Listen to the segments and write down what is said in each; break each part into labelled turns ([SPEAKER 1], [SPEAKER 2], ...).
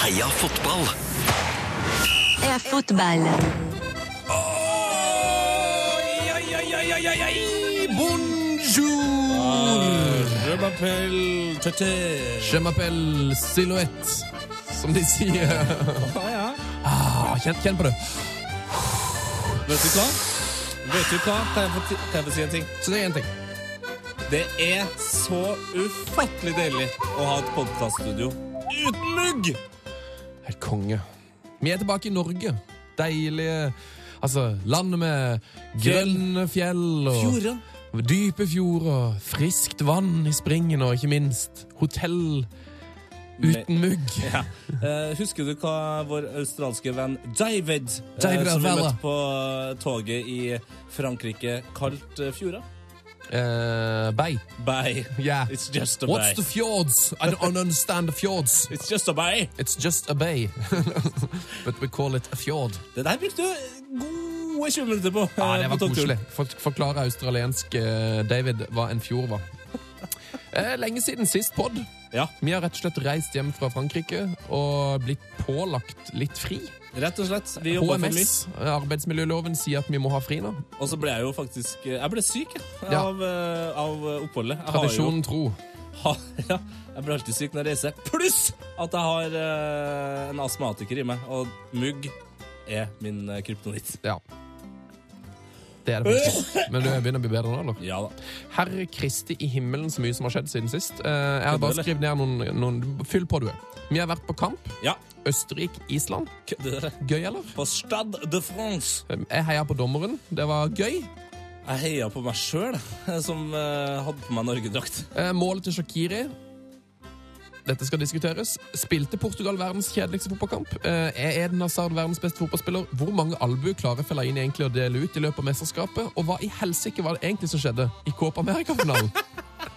[SPEAKER 1] Heia fotball!
[SPEAKER 2] er fotball.
[SPEAKER 3] Oi, oi, oi, oi, oi, oi, oi. Bonjour!
[SPEAKER 4] Je m'appelle Tete.
[SPEAKER 3] Je m'appelle Silhouette, som de sier.
[SPEAKER 4] Ja, ja.
[SPEAKER 3] Ah, kjenn, kjenn på det.
[SPEAKER 4] Vet du hva? Vet du hva? Kan jeg få, ti- kan jeg få si en ting?
[SPEAKER 3] Så det er én ting.
[SPEAKER 4] Det er så ufattelig deilig å ha et podcaststudio uten mugg!
[SPEAKER 3] Helt konge. Vi er tilbake i Norge. Deilige Altså, landet med grønne fjell og
[SPEAKER 4] Fjorden.
[SPEAKER 3] dype fjorder, friskt vann i springen og ikke minst hotell uten mugg.
[SPEAKER 4] Ja. Eh, husker du hva vår australske venn David, eh,
[SPEAKER 3] David
[SPEAKER 4] som vi
[SPEAKER 3] Avella.
[SPEAKER 4] møtte på toget i Frankrike, kalte eh, fjorda?
[SPEAKER 3] Eh, bay.
[SPEAKER 4] Bay.
[SPEAKER 3] Yeah.
[SPEAKER 4] It's just a
[SPEAKER 3] What's
[SPEAKER 4] bay.
[SPEAKER 3] the fjords? I don't I don't understand the fjords.
[SPEAKER 4] It's just a bay.
[SPEAKER 3] It's just a bay. But we call it a fjord.
[SPEAKER 4] Det der brukte du gode 20 minutter på.
[SPEAKER 3] Ja,
[SPEAKER 4] eh,
[SPEAKER 3] det var
[SPEAKER 4] på
[SPEAKER 3] koselig.
[SPEAKER 4] togturen.
[SPEAKER 3] For- Forklare australiensk eh, David hva en fjord var. Eh, Lenge siden sist podd.
[SPEAKER 4] Ja,
[SPEAKER 3] Vi har rett og slett reist hjem fra Frankrike og blitt pålagt litt fri.
[SPEAKER 4] rett og slett. Vi jobba for mye.
[SPEAKER 3] HMS, eh, arbeidsmiljøloven, sier at vi må ha fri nå.
[SPEAKER 4] Og så ble jeg jo faktisk eh, Jeg ble syk jeg,
[SPEAKER 3] Ja.
[SPEAKER 4] av, eh, av
[SPEAKER 3] Ah,
[SPEAKER 4] oppholdet. Jeg har
[SPEAKER 3] Tradisjonen tro.
[SPEAKER 4] Jo, ha, ja, jeg blir alltid syk når jeg reiser. Pluss at jeg har eh, en astmatiker i meg, og mugg er min eh, kryptonitt.
[SPEAKER 3] Ja. Det er det faktisk. Men du begynner å bli bedre nå, eller?
[SPEAKER 4] Ja da.
[SPEAKER 3] Herre Kristi i himmelen, så mye som har skjedd siden sist. Eh, jeg har bare
[SPEAKER 4] Kødder
[SPEAKER 3] skrevet ned noen, noen Fyll på, du. Vi har vært på kamp.
[SPEAKER 4] Ja.
[SPEAKER 3] Østerrike-Island.
[SPEAKER 4] Kødder dere?
[SPEAKER 3] Gøy, eller?
[SPEAKER 4] På Stade de France.
[SPEAKER 3] Jeg heia på dommeren. Det var gøy.
[SPEAKER 4] Jeg heia på meg sjøl, som eh, hadde på meg Norgedrakt.
[SPEAKER 3] Eh, målet til Shakiri dette skal diskuteres. Spilte Portugal verdens kjedeligste fotballkamp? Eh, Er Eden Hazard verdens beste fotballspiller? Hvor mange albuer klarer Fellaini egentlig å dele ut i løpet av mesterskapet? Og hva i helsike var det egentlig som skjedde i Copa America-finalen?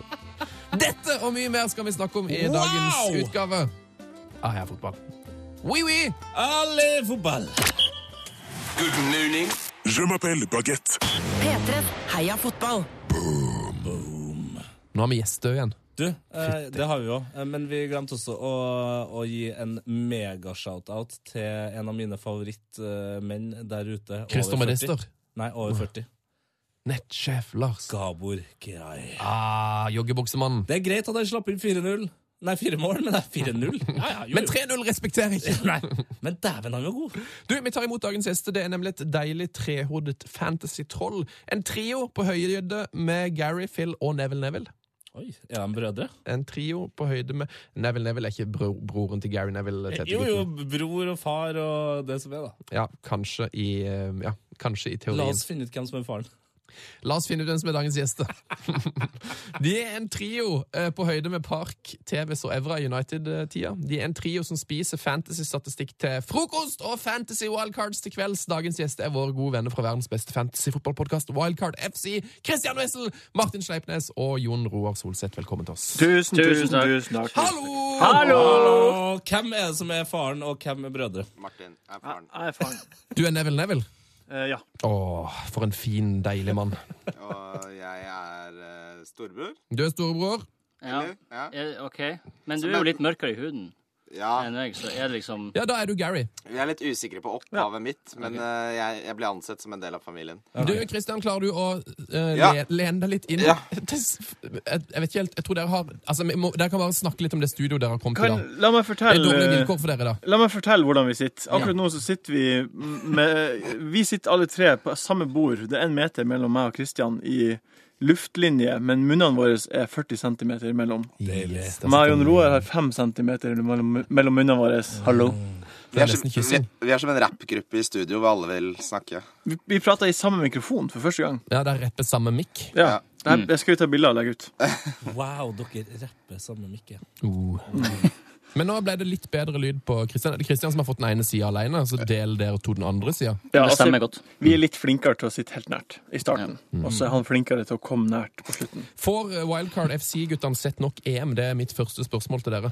[SPEAKER 3] Dette og mye mer skal vi snakke om i
[SPEAKER 4] Wow!
[SPEAKER 3] dagens utgave av Heia fotball. Oui, oui!
[SPEAKER 4] Alle fotball!
[SPEAKER 1] Good morning.
[SPEAKER 5] Je m'appelle Baguette.
[SPEAKER 2] P3. Heia fotball.
[SPEAKER 3] Nå har vi gjester igjen.
[SPEAKER 4] Du, eh, det har vi jo, eh, men vi glemte også å, å gi en mega-shout-out til en av mine favorittmenn der ute. over
[SPEAKER 3] Christer
[SPEAKER 4] 40.
[SPEAKER 3] Minister.
[SPEAKER 4] Nei, over 40.
[SPEAKER 3] Nettsjef Lars.
[SPEAKER 4] Gabor Grei.
[SPEAKER 3] Ah, Joggebuksemannen.
[SPEAKER 4] Det er greit at han slapp inn 4-0. Nei, 4 mål, men det er 4-0. Ja, ja, jo,
[SPEAKER 3] Men
[SPEAKER 4] jo.
[SPEAKER 3] 3-0 respekterer ikke!
[SPEAKER 4] Nei, men dæven, han var god.
[SPEAKER 3] Du, Vi tar imot dagens gjester. Det er nemlig et deilig trehodet fantasy-troll. En trio på høyde med Gary, Phil og Neville Neville.
[SPEAKER 4] Oi, Er de brødre?
[SPEAKER 3] En trio på høyde med Neville Neville er ikke bro broren til Gary Neville. Tete
[SPEAKER 4] Eh, Jo, jo,
[SPEAKER 3] gutten.
[SPEAKER 4] bror og far og det som er, da.
[SPEAKER 3] Ja, kanskje i, eh, ja, kanskje i teorien.
[SPEAKER 4] La oss finne ut hvem som er faren.
[SPEAKER 3] La oss finne ut hvem som er dagens gjester. De er en trio eh, på høyde med Park, TVs og Evra United-tida. De er en trio som spiser fantasy-statistikk til frokost og fantasy-wildcards til kvelds. Dagens gjest er våre gode venner fra verdens beste fantasy-fotballpodkast, Wildcard FC. Christian Wessel, Martin Sleipnes og Jon Roar Solseth, velkommen til oss.
[SPEAKER 6] Tusen, tusen, tusen takk.
[SPEAKER 3] Hallo!
[SPEAKER 4] Hallo! Hvem er det som er faren, og hvem er brødre?
[SPEAKER 7] Martin er
[SPEAKER 6] Jeg
[SPEAKER 7] faren.
[SPEAKER 6] jeg er faren.
[SPEAKER 3] Du er Neville Neville.
[SPEAKER 6] Eh, ja.
[SPEAKER 3] Å, for en fin, deilig mann.
[SPEAKER 7] Og jeg er eh, storebror.
[SPEAKER 3] Du er storebror.
[SPEAKER 6] ja.
[SPEAKER 7] eller? Ja.
[SPEAKER 6] Eh, OK. Men du er jo litt mørkere i huden
[SPEAKER 7] ja.
[SPEAKER 6] enn jeg, så er det liksom
[SPEAKER 3] Ja, da er du Gary.
[SPEAKER 7] Vi er litt usikre på opphavet mitt, men eh, jeg, jeg ble ansett som en del av familien.
[SPEAKER 3] Du, Kristian, klarer du å eh,
[SPEAKER 7] Ja.
[SPEAKER 3] le, lene deg litt inn?
[SPEAKER 7] Ja.
[SPEAKER 3] Til s- Jeg, jeg vet ikke helt, jeg tror dere har altså, vi må, Dere kan bare snakke litt om det studioet dere har kommet
[SPEAKER 6] kan,
[SPEAKER 3] i.
[SPEAKER 6] La
[SPEAKER 3] da Det
[SPEAKER 6] meg
[SPEAKER 3] er
[SPEAKER 6] fortelle
[SPEAKER 3] dårlige vilkår for dere, da.
[SPEAKER 6] La meg fortelle hvordan vi sitter. Akkurat nå så sitter vi med Vi sitter alle tre på samme bord. Det er en meter mellom meg og Kristian i luftlinje, men munnene våre er 40 cm imellom.
[SPEAKER 3] Yes, der sitter
[SPEAKER 6] Meg og Jon
[SPEAKER 3] den.
[SPEAKER 6] Roar har 5 cm mellom, mellom munnene våre. Hallo.
[SPEAKER 3] Det er
[SPEAKER 7] som-
[SPEAKER 3] nesten
[SPEAKER 7] vi,
[SPEAKER 3] kyssing.
[SPEAKER 7] vi er som en rappgruppe i studio hvor alle vil snakke.
[SPEAKER 6] Vi, vi prater i samme mikrofon for første gang.
[SPEAKER 3] Ja, det er rett ved samme mikk.
[SPEAKER 6] Ja. Mm. Det her, jeg skal vi ta bilder og legge ut.
[SPEAKER 4] Wow, dere rapper sammen, Mikke.
[SPEAKER 3] Uh. Men nå ble det litt bedre lyd på Kristian. Det er Kristian som har fått den ene sida alene, så deler dere to den andre sida.
[SPEAKER 6] Ja,
[SPEAKER 8] Det
[SPEAKER 6] altså,
[SPEAKER 8] stemmer godt.
[SPEAKER 6] Vi er litt flinkere til å sitte helt nært i starten, og så er han flinkere til å komme nært på slutten.
[SPEAKER 3] Får eh, Wildcard FC-guttene sett nok EM? Det er mitt første spørsmål til dere.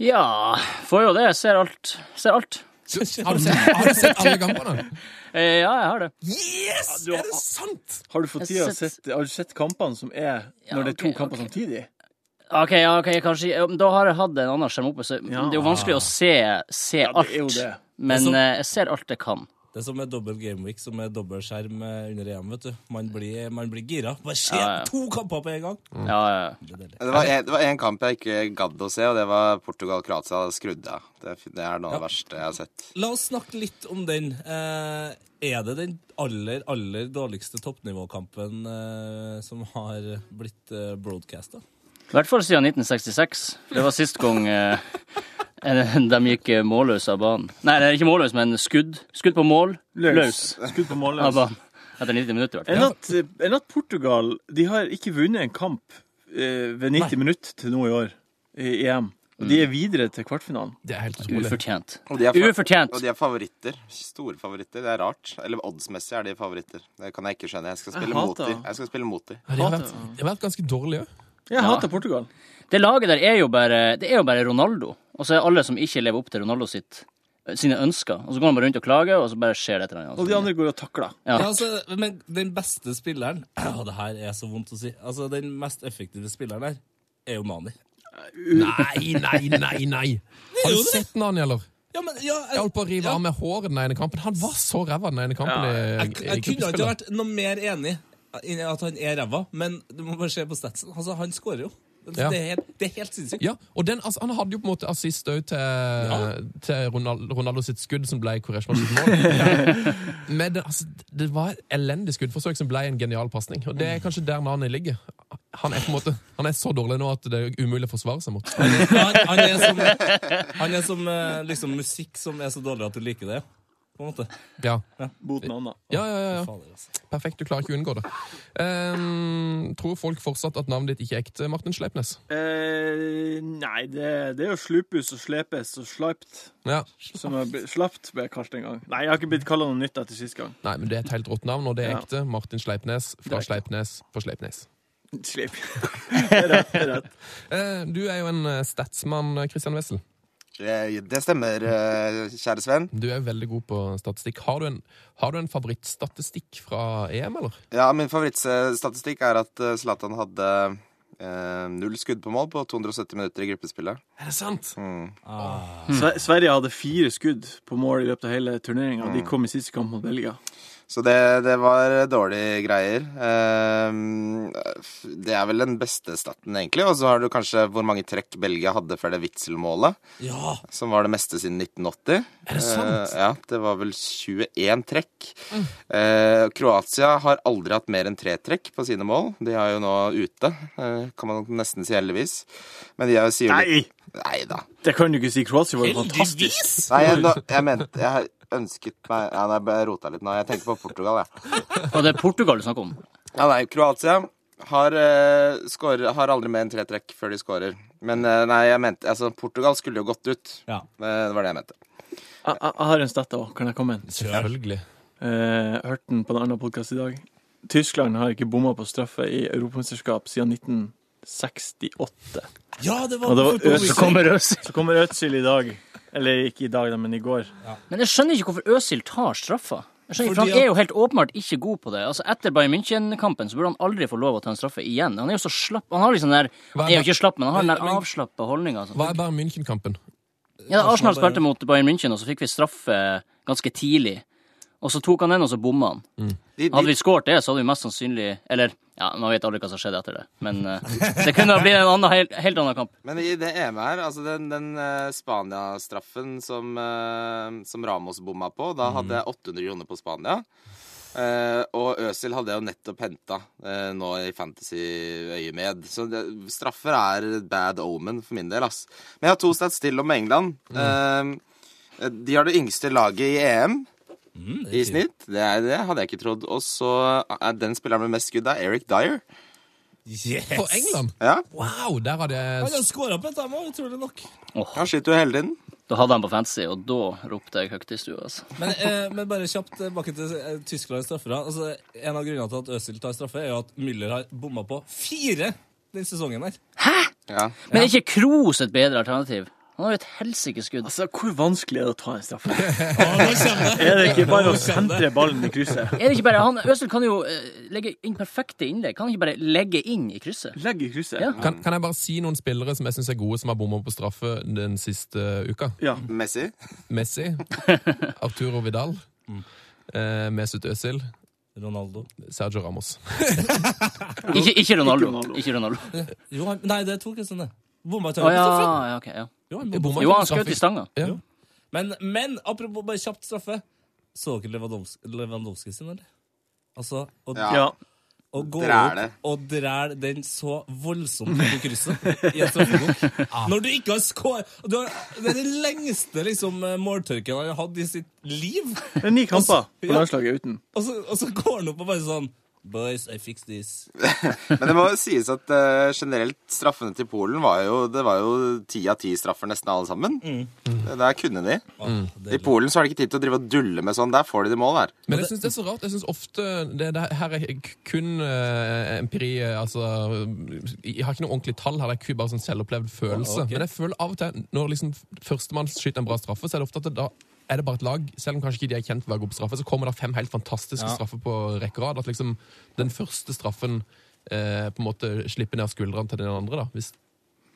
[SPEAKER 8] Ja, får jo det. Ser alt. Ser alt.
[SPEAKER 3] Du, har, du sett, har du sett alle kampene?
[SPEAKER 8] Eh, ja, jeg har det.
[SPEAKER 3] Yes!
[SPEAKER 6] Ja, du har-
[SPEAKER 3] Er det sant?!
[SPEAKER 6] Har du fått tid å
[SPEAKER 8] Jeg
[SPEAKER 6] sett, har du sett kampene som er
[SPEAKER 8] Ja,
[SPEAKER 6] når det er to
[SPEAKER 8] ok,
[SPEAKER 6] kamper
[SPEAKER 8] ok.
[SPEAKER 6] samtidig?
[SPEAKER 8] Jeg OK, ja, ok, kanskje ja, men Da har jeg hatt en annen skjerm oppe, så
[SPEAKER 6] Ja.
[SPEAKER 8] det er jo vanskelig å se, se
[SPEAKER 6] det er jo
[SPEAKER 8] alt.
[SPEAKER 6] det.
[SPEAKER 8] Men
[SPEAKER 4] Det er så-
[SPEAKER 8] eh, jeg ser alt jeg kan.
[SPEAKER 4] Det er som med dobbel gameweek, som er dobbeltskjerm eh, under EM. vet du. Man blir, man blir gira. Bare se
[SPEAKER 8] Ja, ja.
[SPEAKER 4] to kamper på en gang!
[SPEAKER 8] Ja, ja.
[SPEAKER 7] Det var, en, det var en kamp jeg ikke gadd å se, og det var Portugal-Kroatia. Skrudd av. Det, det er noe av det verste jeg har sett.
[SPEAKER 4] La oss snakke litt om den. Eh, er det den aller, aller dårligste toppnivåkampen eh, som har blitt eh, broadcasta?
[SPEAKER 8] I hvert fall siden 1966. Det var sist gang eh, de gikk eh, målløs av banen. Nei, det er ikke målløs, men skudd. Skudd på mål. Løs.
[SPEAKER 6] Skudd på mål.
[SPEAKER 8] av
[SPEAKER 6] Løs.
[SPEAKER 8] banen. Etter 90 minutter, i hvert fall.
[SPEAKER 6] Enn at, enn at Portugal De har ikke vunnet en kamp eh, ved 90 minutter til nå i år i EM. Og
[SPEAKER 8] Mm.
[SPEAKER 6] de er videre til kvartfinalen.
[SPEAKER 3] Det er helt utrolig.
[SPEAKER 8] Ufortjent.
[SPEAKER 7] Og de er fa-
[SPEAKER 8] Ufortjent.
[SPEAKER 7] Og de er favoritter. Store favoritter. Det er rart. Eller oddsmessig er de favoritter. Det kan jeg ikke skjønne. Jeg skal spille mot
[SPEAKER 6] hater
[SPEAKER 7] dem. Jeg skal spille mot dem.
[SPEAKER 3] Ja, de, har vært, de har vært ganske dårlige òg.
[SPEAKER 6] Jeg hater Portugal.
[SPEAKER 8] Det laget der er jo bare, det er jo bare Ronaldo. Og så er alle som ikke lever opp til Ronaldo sitt, sine ønsker. Og så går han bare rundt og klager, og så bare skjer det et eller annet.
[SPEAKER 6] Og de andre går og takler.
[SPEAKER 8] Ja.
[SPEAKER 4] Ja, altså, men den beste spilleren Å, det her er så vondt å si. Altså, Den mest effektive spilleren her er jo Mani.
[SPEAKER 3] Nei, nei, nei, nei! Har du
[SPEAKER 4] det.
[SPEAKER 3] sett den, eller?
[SPEAKER 4] Ja, men, ja,
[SPEAKER 3] Jeg
[SPEAKER 4] jeg,
[SPEAKER 3] holdt på å rive av meg håret den ene kampen. Han var så ræva den ene kampen. i,
[SPEAKER 4] jeg,
[SPEAKER 3] i
[SPEAKER 4] jeg kunne ikke
[SPEAKER 3] gruppespillet.
[SPEAKER 4] vært noe mer enig i at han er ræva, men du må bare se på statsen. Altså, Han skårer jo. Det,
[SPEAKER 3] Ja.
[SPEAKER 4] det, er, helt, det er helt sinnssykt.
[SPEAKER 3] Ja, og den, altså, Han hadde jo på en måte assist òg til, til Ronaldo, Ronaldo sitt skudd, som ble Koreshma sitt mål. Men det, altså, det var et elendig skuddforsøk som ble en genial pasning. Og det er kanskje der Nani ligger. Han er på en måte, han er så dårlig nå at det er umulig å forsvare seg mot.
[SPEAKER 4] Han, han er som, han er som eh, liksom, musikk som er så dårlig at du liker det. På en måte.
[SPEAKER 3] Ja,
[SPEAKER 6] Boten Anna.
[SPEAKER 3] ja, ja. ja, ja.
[SPEAKER 4] Fader, altså.
[SPEAKER 3] Perfekt. Du klarer ikke å unngå det. Ehm, tror folk fortsatt at navnet ditt ikke er ekte, Martin Sleipnes?
[SPEAKER 6] Eh, nei, det, det er jo slupus og slepes og slaipt.
[SPEAKER 3] Ja.
[SPEAKER 6] Som jeg ble, slapt ble jeg kalt en gang. Nei, jeg har ikke blitt kalla noe nytt etter sist gang.
[SPEAKER 3] Nei, men det er et helt rått navn, og det er
[SPEAKER 6] Ja.
[SPEAKER 3] ekte. Martin Sleipnes
[SPEAKER 6] Det er
[SPEAKER 3] fra
[SPEAKER 6] ekte.
[SPEAKER 3] Sleipnes på Sleipnes.
[SPEAKER 6] Sleip. Det er rett, det er rett.
[SPEAKER 3] Eh, Du er jo en eh, statsmann, eh, Christian Wessel.
[SPEAKER 7] Eh, Det stemmer, eh, kjære Sven.
[SPEAKER 3] Du er veldig god på statistikk. Har du en, har du en favorittstatistikk fra EM, eller?
[SPEAKER 7] Ja, min favorittstatistikk er at eh, Zlatan hadde eh, null skudd på mål på 270 minutter i gruppespillet.
[SPEAKER 3] Er det sant?
[SPEAKER 6] Sve- Sverige hadde fire skudd på mål i løpet av hele turneringa. De kom i siste kamp mot Belgia.
[SPEAKER 7] Så det, det var dårlige greier. Ehm, Det er vel den beste staten, egentlig. Og så har du kanskje hvor mange trekk Belgia hadde før det Witzel-målet,
[SPEAKER 4] Ja!
[SPEAKER 7] som var det meste siden 1980.
[SPEAKER 3] Er det sant? Mm.
[SPEAKER 7] Eh, ja, det var vel 21 trekk. Eh, Kroatia har aldri hatt mer enn tre trekk på sine mål. De er jo nå ute, eh, kan man nesten si heldigvis. Men de er jo sier jo litt-
[SPEAKER 6] Nei!
[SPEAKER 7] Nei da.
[SPEAKER 6] Det kan du ikke si. Kroatia var jo fantastisk.
[SPEAKER 4] Heldigvis!
[SPEAKER 7] Nei, jeg, nå- jeg mente Jeg ønsket meg Ja, nei, jeg rota litt nå. Jeg tenker på Portugal, jeg.
[SPEAKER 8] Og det er Portugal du snakker om.
[SPEAKER 7] Ja, nei, Kroatia har, eh, skårer- har aldri mer enn tre trekk før de skårer. Men eh, nei, jeg mente Altså, Portugal skulle jo gått ut.
[SPEAKER 4] Ja.
[SPEAKER 7] Eh, det var det jeg mente.
[SPEAKER 6] Jeg, jeg, jeg har en stett òg. Kan jeg komme med en?
[SPEAKER 3] Selvfølgelig.
[SPEAKER 6] Eh, hørte den på en annen podkast i dag. Tyskland har ikke bomma på straffe i europamesterskap siden 1968.
[SPEAKER 4] Ja, det var,
[SPEAKER 6] Og det var
[SPEAKER 4] football
[SPEAKER 6] Øs-
[SPEAKER 4] week.
[SPEAKER 8] Så kommer Øsil.
[SPEAKER 6] Så kommer Øtzil i dag. Eller ikke i dag, da, men i går.
[SPEAKER 8] Men jeg skjønner ikke hvorfor Øsil tar straffa. Jeg skjønner ikke, for
[SPEAKER 4] Fordi
[SPEAKER 8] Han er
[SPEAKER 4] at-
[SPEAKER 8] jo helt åpenbart ikke god på det. Altså Etter Bayern München-kampen så burde han aldri få lov å ta en straffe igjen. Han er jo så slapp. Han har liksom den der Han er jo ikke slapp, men han har den der avslappa holdninga.
[SPEAKER 3] Hva er Bayern München-kampen?
[SPEAKER 8] Ja, da Arsenal spilte mot Bayern München, og så fikk vi straffe ganske tidlig. Og så tok han den, og så bomma han.
[SPEAKER 7] De,
[SPEAKER 8] Hadde
[SPEAKER 7] de,
[SPEAKER 8] vi skåret det, så hadde vi mest sannsynlig Eller ja, man vet aldri hva som skjedde etter det, men eh, det kunne ha blitt en annen, helt, helt annen kamp.
[SPEAKER 7] men i det EM her, altså den, den eh, Spania-straffen som, eh, som Ramos bomma på, da hadde jeg 800 kroner på Spania. Eh, og Øsil hadde jeg jo nettopp henta eh, nå i fantasy-øyemed. Så det, straffer er bad omen for min del, ass. Men jeg har to stats til om England. Eh, de har det yngste laget i EM. I snitt. Det, er, det hadde jeg ikke trodd. Og så er den spilleren med mest skudd, er Eric Dyer.
[SPEAKER 4] Yes.
[SPEAKER 3] For England?
[SPEAKER 7] Ja,
[SPEAKER 3] Wow, der hadde
[SPEAKER 4] Han har
[SPEAKER 3] jeg
[SPEAKER 4] skåra på et tema, utrolig nok.
[SPEAKER 7] Han skyter jo hele tiden.
[SPEAKER 8] Da hadde han på fancy, og da ropte jeg høyt i stua. Altså.
[SPEAKER 4] Men, eh, men bare kjapt tilbake til eh, Tysklands straffer. da. Altså, en av grunnene til at Øzil tar straffe, er jo at Müller har bomma på fire den sesongen her.
[SPEAKER 7] Ja.
[SPEAKER 8] Men er ikke Kroos et bedre alternativ? Han har jo et helsikes skudd.
[SPEAKER 6] Altså, Hvor vanskelig er det å ta en straffe?
[SPEAKER 9] Å, nå kommer det!
[SPEAKER 6] Er det ikke bare å sentre ballen i krysset?
[SPEAKER 8] Er det ikke bare, han, Øzil kan jo eh, legge inn perfekte innlegg. Kan han ikke bare legge inn i krysset?
[SPEAKER 6] Legg i krysset.
[SPEAKER 8] Ja.
[SPEAKER 3] Kan, kan jeg bare si noen spillere som jeg syns er gode, som har bomma på straffe den siste eh, uka?
[SPEAKER 6] Ja.
[SPEAKER 7] Messi.
[SPEAKER 3] Messi. Arturo Vidal. Eh, Mesut Özil.
[SPEAKER 4] Ronaldo.
[SPEAKER 3] Sergio Ramos.
[SPEAKER 8] Ikke, ikke
[SPEAKER 6] Ikke
[SPEAKER 8] Ronaldo.
[SPEAKER 6] Ronaldo.
[SPEAKER 8] Ikke Ronaldo.
[SPEAKER 4] Jo, han, nei, det tok en stund, det. Bomma
[SPEAKER 8] Å
[SPEAKER 4] til
[SPEAKER 8] ja,
[SPEAKER 4] straffe.
[SPEAKER 8] ja, ok, ja.
[SPEAKER 4] Jo, han
[SPEAKER 3] Jeg
[SPEAKER 4] bomma.
[SPEAKER 3] bomma
[SPEAKER 8] Jo,
[SPEAKER 3] på
[SPEAKER 8] han skjøt
[SPEAKER 3] straffe.
[SPEAKER 8] i stanga.
[SPEAKER 3] Ja.
[SPEAKER 4] Men, men apropos bare kjapt straffe. Så dere Lewandowski, Lewandowski sin, eller? Altså, å,
[SPEAKER 7] Ja.
[SPEAKER 6] ja.
[SPEAKER 4] å gå
[SPEAKER 7] Dræl det.
[SPEAKER 4] opp og dræle den så voldsomt på krysset i en straffebok.
[SPEAKER 8] Ah.
[SPEAKER 4] Når du ikke har skåret Det er den lengste liksom, måltørken han har hatt i sitt liv.
[SPEAKER 6] Det er ni kamper på
[SPEAKER 4] Ja.
[SPEAKER 6] landslaget uten.
[SPEAKER 4] Og så, og så går han opp og bare sånn Boys, I fix this.
[SPEAKER 7] Men det må jo sies at eh, generelt straffene til Polen var jo Det var jo ti av ti straffer nesten alle sammen.
[SPEAKER 8] Mm.
[SPEAKER 7] Det Der kunne de.
[SPEAKER 4] Ah,
[SPEAKER 7] I
[SPEAKER 4] deilig.
[SPEAKER 7] Polen så har de ikke tid til å drive og dulle med sånn. Der får de det mål her.
[SPEAKER 3] Men jeg syns det er så rart. Jeg synes ofte det, det Her er k- kun eh, empiri eh, Altså Jeg har ikke noe ordentlig tall her, det er kun bare sånn selvopplevd følelse.
[SPEAKER 4] ok.
[SPEAKER 3] Men jeg føler av og til, når liksom førstemann skyter en bra straffe, så er det ofte at det, da er det bare et lag, selv om kanskje ikke de er kjent for å være gode på straffe, så kommer det fem helt fantastiske straffer på rekke og rad. At liksom den første straffen eh, på en måte slipper ned skuldrene til den andre, da. Hvis,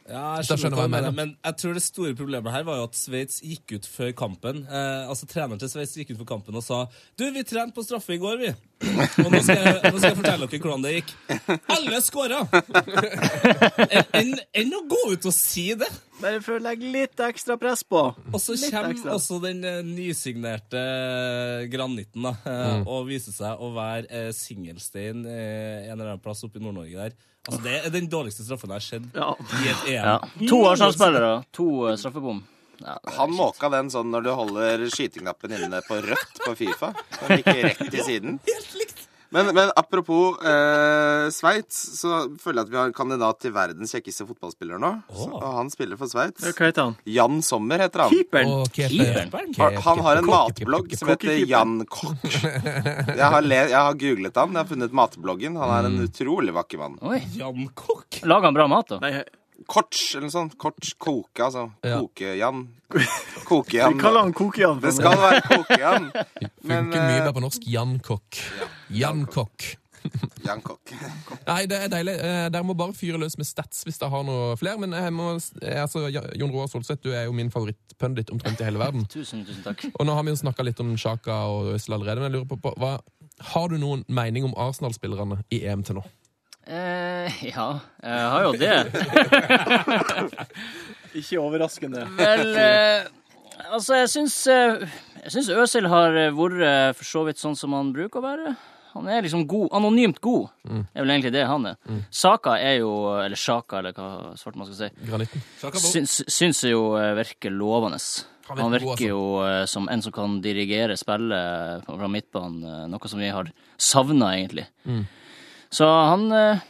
[SPEAKER 4] Ja, jeg
[SPEAKER 3] Da skjønner
[SPEAKER 4] skjønner hva
[SPEAKER 3] jeg
[SPEAKER 4] jeg mener.
[SPEAKER 3] mener.
[SPEAKER 4] Men jeg tror det store problemet her var jo at Sveits gikk ut før kampen. Eh, altså Treneren til Sveits gikk ut før kampen og sa Du, vi trente på straffe i går, vi. Og nå skal jeg, nå skal jeg fortelle dere hvordan det gikk. Alle skåra! Enn enn å gå ut og si det!
[SPEAKER 6] Bare for å legge litt ekstra press på.
[SPEAKER 4] Og så
[SPEAKER 6] Litt ekstra.
[SPEAKER 4] kommer også den eh, nysignerte granitten da, eh,
[SPEAKER 3] Mm.
[SPEAKER 4] og viser seg å være eh, singelstein eh, en eller annen plass oppe i Nord-Norge der. Altså, Det er den dårligste straffen jeg har sett
[SPEAKER 6] Ja.
[SPEAKER 4] i et EM.
[SPEAKER 8] Ja. To Arsenal-spillere, to eh, straffebom. Ja, det er
[SPEAKER 7] Han
[SPEAKER 8] shit.
[SPEAKER 7] måka den sånn når du holder skyteknappen inne på rødt på Fifa. Den gikk rett til siden. Men, men apropos eh, Sveits, så føler jeg at vi har en kandidat til verdens kjekkeste fotballspiller nå. Så, og han spiller for Sveits.
[SPEAKER 6] Hva heter han?
[SPEAKER 7] Jan Sommer heter han.
[SPEAKER 6] Keeperen.
[SPEAKER 3] Å, keeper.
[SPEAKER 4] Keeperen?
[SPEAKER 3] Keeper.
[SPEAKER 7] Han har en
[SPEAKER 3] Kokk.
[SPEAKER 7] matblogg som heter Jan Kokk. Jeg har, le jeg har googlet han, jeg har funnet matbloggen. Han er en utrolig vakker mann.
[SPEAKER 8] Oi.
[SPEAKER 4] Jan Kokk?
[SPEAKER 8] Lager han bra mat, da?
[SPEAKER 6] Nei,
[SPEAKER 7] Korts, eller noe sånt. Korts koke, altså.
[SPEAKER 3] Ja.
[SPEAKER 7] Koke-Jan.
[SPEAKER 6] vi kaller
[SPEAKER 7] Koke-Jan.
[SPEAKER 6] han Kokian.
[SPEAKER 7] Det skal være Koke-Jan, men
[SPEAKER 3] Funker mye
[SPEAKER 7] eh,
[SPEAKER 3] bedre på norsk. Jan Kokk. Jan Kokk.
[SPEAKER 7] Jan Kokk.
[SPEAKER 3] Nei, det er deilig. Eh, Dere må bare fyre løs med stats hvis dere har noe flere. Men jeg må, eh, altså, Ja- Jon Roar Solseth, du er jo min favorittpundit omtrent i hele verden.
[SPEAKER 8] Tusen, tusen takk.
[SPEAKER 3] Og nå har vi jo snakka litt om Sjaka og Øzil allerede, men jeg lurer på, på hva, Har du noen mening om Arsenal-spillerne i EM til nå?
[SPEAKER 8] Eh, ja, jeg har jo det.
[SPEAKER 6] Ikke overraskende.
[SPEAKER 8] Vel, eh, altså, jeg syns eh, Jeg syns Øzil har eh, vært eh, for så vidt sånn som han bruker å være. Han er liksom god. Anonymt god.
[SPEAKER 3] Mm.
[SPEAKER 8] Det er vel egentlig det han er. Saka er jo Eller Sjaka, eller hva svart man skal si.
[SPEAKER 3] Granitten?
[SPEAKER 8] Syns, syns jeg jo eh, virker lovende.
[SPEAKER 3] Han virker
[SPEAKER 8] Han
[SPEAKER 3] god, altså.
[SPEAKER 8] virker jo eh, som en som kan dirigere spillet fra midtbanen, eh, noe som vi har savna, egentlig.
[SPEAKER 3] Mm.
[SPEAKER 8] Så han eh,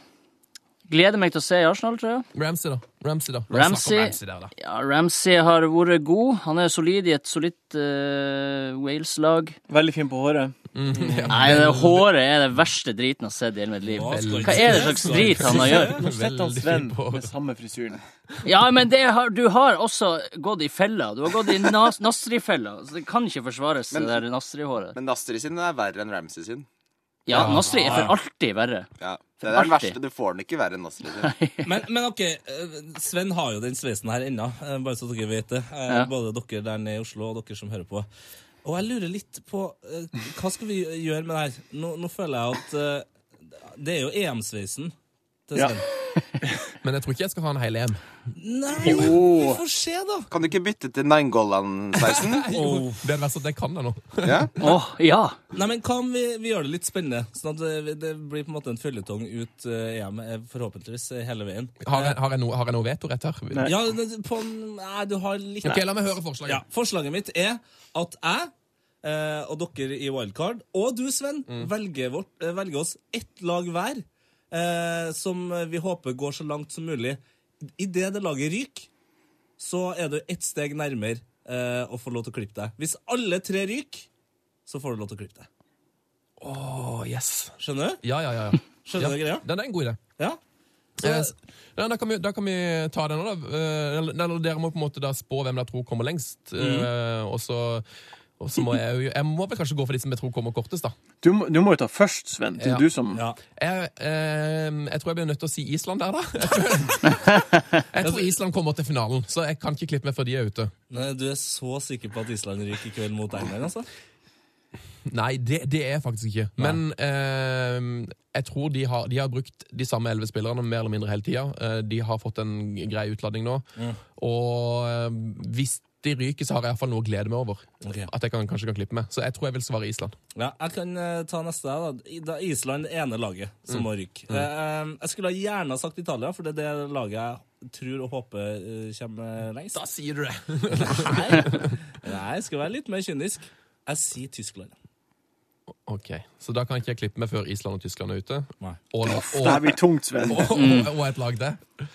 [SPEAKER 8] gleder meg til å se i Arsenal, tror jeg.
[SPEAKER 3] Ramsey, da. Ramsey, da. La oss snakke om
[SPEAKER 8] Ramsey,
[SPEAKER 3] Ramsey der, da.
[SPEAKER 8] ja, Ramsey har vært god. Han er solid i et solid eh, Wales-lag.
[SPEAKER 6] Veldig fin på håret.
[SPEAKER 8] Nei, det håret er det verste driten jeg har sett i hele mitt liv.
[SPEAKER 4] Hva skal
[SPEAKER 8] Hva er det slags drit han har gjort?
[SPEAKER 6] Nå sitter han
[SPEAKER 3] Veldig
[SPEAKER 6] Sven
[SPEAKER 3] fin på
[SPEAKER 6] med samme frisyren.
[SPEAKER 8] Ja, men det har, du har også gått i fella. Du har gått i nas, Nasri-fella. Så det kan ikke forsvares,
[SPEAKER 7] Men-
[SPEAKER 8] det der Nasri-håret.
[SPEAKER 7] Men Nastri sin er verre enn Ramsey sin.
[SPEAKER 8] Ja, Nasri er for alltid verre.
[SPEAKER 7] Ja. Det er den
[SPEAKER 8] Artig.
[SPEAKER 7] verste. Du får den ikke verre enn Nastri sin.
[SPEAKER 4] Men, men ok, eh, Sven har jo den sveisen her ennå, eh, bare så dere vet det. Eh,
[SPEAKER 8] Ja.
[SPEAKER 4] Både dere der nede i Oslo og dere som hører på. Og jeg lurer litt på eh, Hva skal vi gjøre med det her? Nå, nå føler jeg at eh, det er jo EM-sveisen til
[SPEAKER 6] Ja.
[SPEAKER 4] Sven.
[SPEAKER 3] Men jeg tror ikke jeg skal ha en hel EM.
[SPEAKER 4] Nei, vi får se, da!
[SPEAKER 7] Kan du ikke bytte til Nangolan-sveisen?
[SPEAKER 3] Jo, Det er verst at jeg kan det nå.
[SPEAKER 7] Ja?
[SPEAKER 8] Åh, ja.
[SPEAKER 4] Nei, men hva om vi, vi gjør det litt spennende? Sånn at det, det blir på en måte en føljetong ut eh, EM, eh, forhåpentligvis, eh, hele veien.
[SPEAKER 3] Har jeg, har jeg, noe- har jeg noe vetorett her?
[SPEAKER 6] Nei.
[SPEAKER 4] Ja, det- på en Nei, du har litt
[SPEAKER 3] Ok, La meg høre forslaget.
[SPEAKER 4] Ja, forslaget mitt er at jeg eh, og dere i Wildcard, og du, Sven, velger, vårt, eh, velger oss ett lag hver eh, som vi håper går så langt som mulig. Idet det laget ryker, så er du ett steg nærmere eh, å få lov til å klippe deg. Hvis alle tre ryker, så får du lov til å klippe deg.
[SPEAKER 3] Å, yes.
[SPEAKER 4] Skjønner du?
[SPEAKER 3] Ja, ja, ja. ja.
[SPEAKER 4] Skjønner du
[SPEAKER 3] ja.
[SPEAKER 4] greia?
[SPEAKER 3] Den er en god idé.
[SPEAKER 4] Ja.
[SPEAKER 3] Eh, s- ja, da, kan vi, da kan vi ta den nå, da. Eh, eller- Eller dere må på en måte da spå hvem dere tror kommer lengst. Eh, og så og så må jeg jo Jeg må vel kanskje gå for de som jeg tror kommer kortest, da.
[SPEAKER 6] Du, må- du må jo ta først, Sven. Det er
[SPEAKER 3] Ja.
[SPEAKER 6] du som
[SPEAKER 4] Ja.
[SPEAKER 3] Jeg, eh, jeg tror jeg blir nødt til å si Island der, da. Jeg tror, jeg tror Island kommer til finalen, så jeg kan ikke klippe meg før de er ute.
[SPEAKER 4] Nei, du er så sikker på at Island ryker i kveld mot England, altså?
[SPEAKER 3] Nei, det, det er jeg faktisk ikke. Men eh, jeg tror de har, de har brukt de samme elleve spillerne mer eller mindre hele tida. Eh, de har fått en grei utladning nå. Og eh, hvis de ryker, så har jeg iallfall noe å glede meg over.
[SPEAKER 4] Ok.
[SPEAKER 3] At jeg kan, kanskje kan klippe meg. Så jeg tror jeg vil svare Island.
[SPEAKER 4] Ja, jeg kan eh, ta neste. her, Da. I- da er Island det ene laget som må ryke. Eh, eh, jeg skulle ha gjerne ha sagt Italia, for det er det laget jeg tror og håper eh, kommer lengst.
[SPEAKER 3] sier du det!
[SPEAKER 4] Nei, jeg skal være litt mer kynisk. Jeg sier Tyskland.
[SPEAKER 3] Ok, Så da kan ikke jeg klippe meg før Island og Tyskland er ute?
[SPEAKER 4] Nei.
[SPEAKER 3] Og, og,
[SPEAKER 6] Det her
[SPEAKER 3] og,
[SPEAKER 6] blir tungt, Sven.
[SPEAKER 3] og, og, et lag til?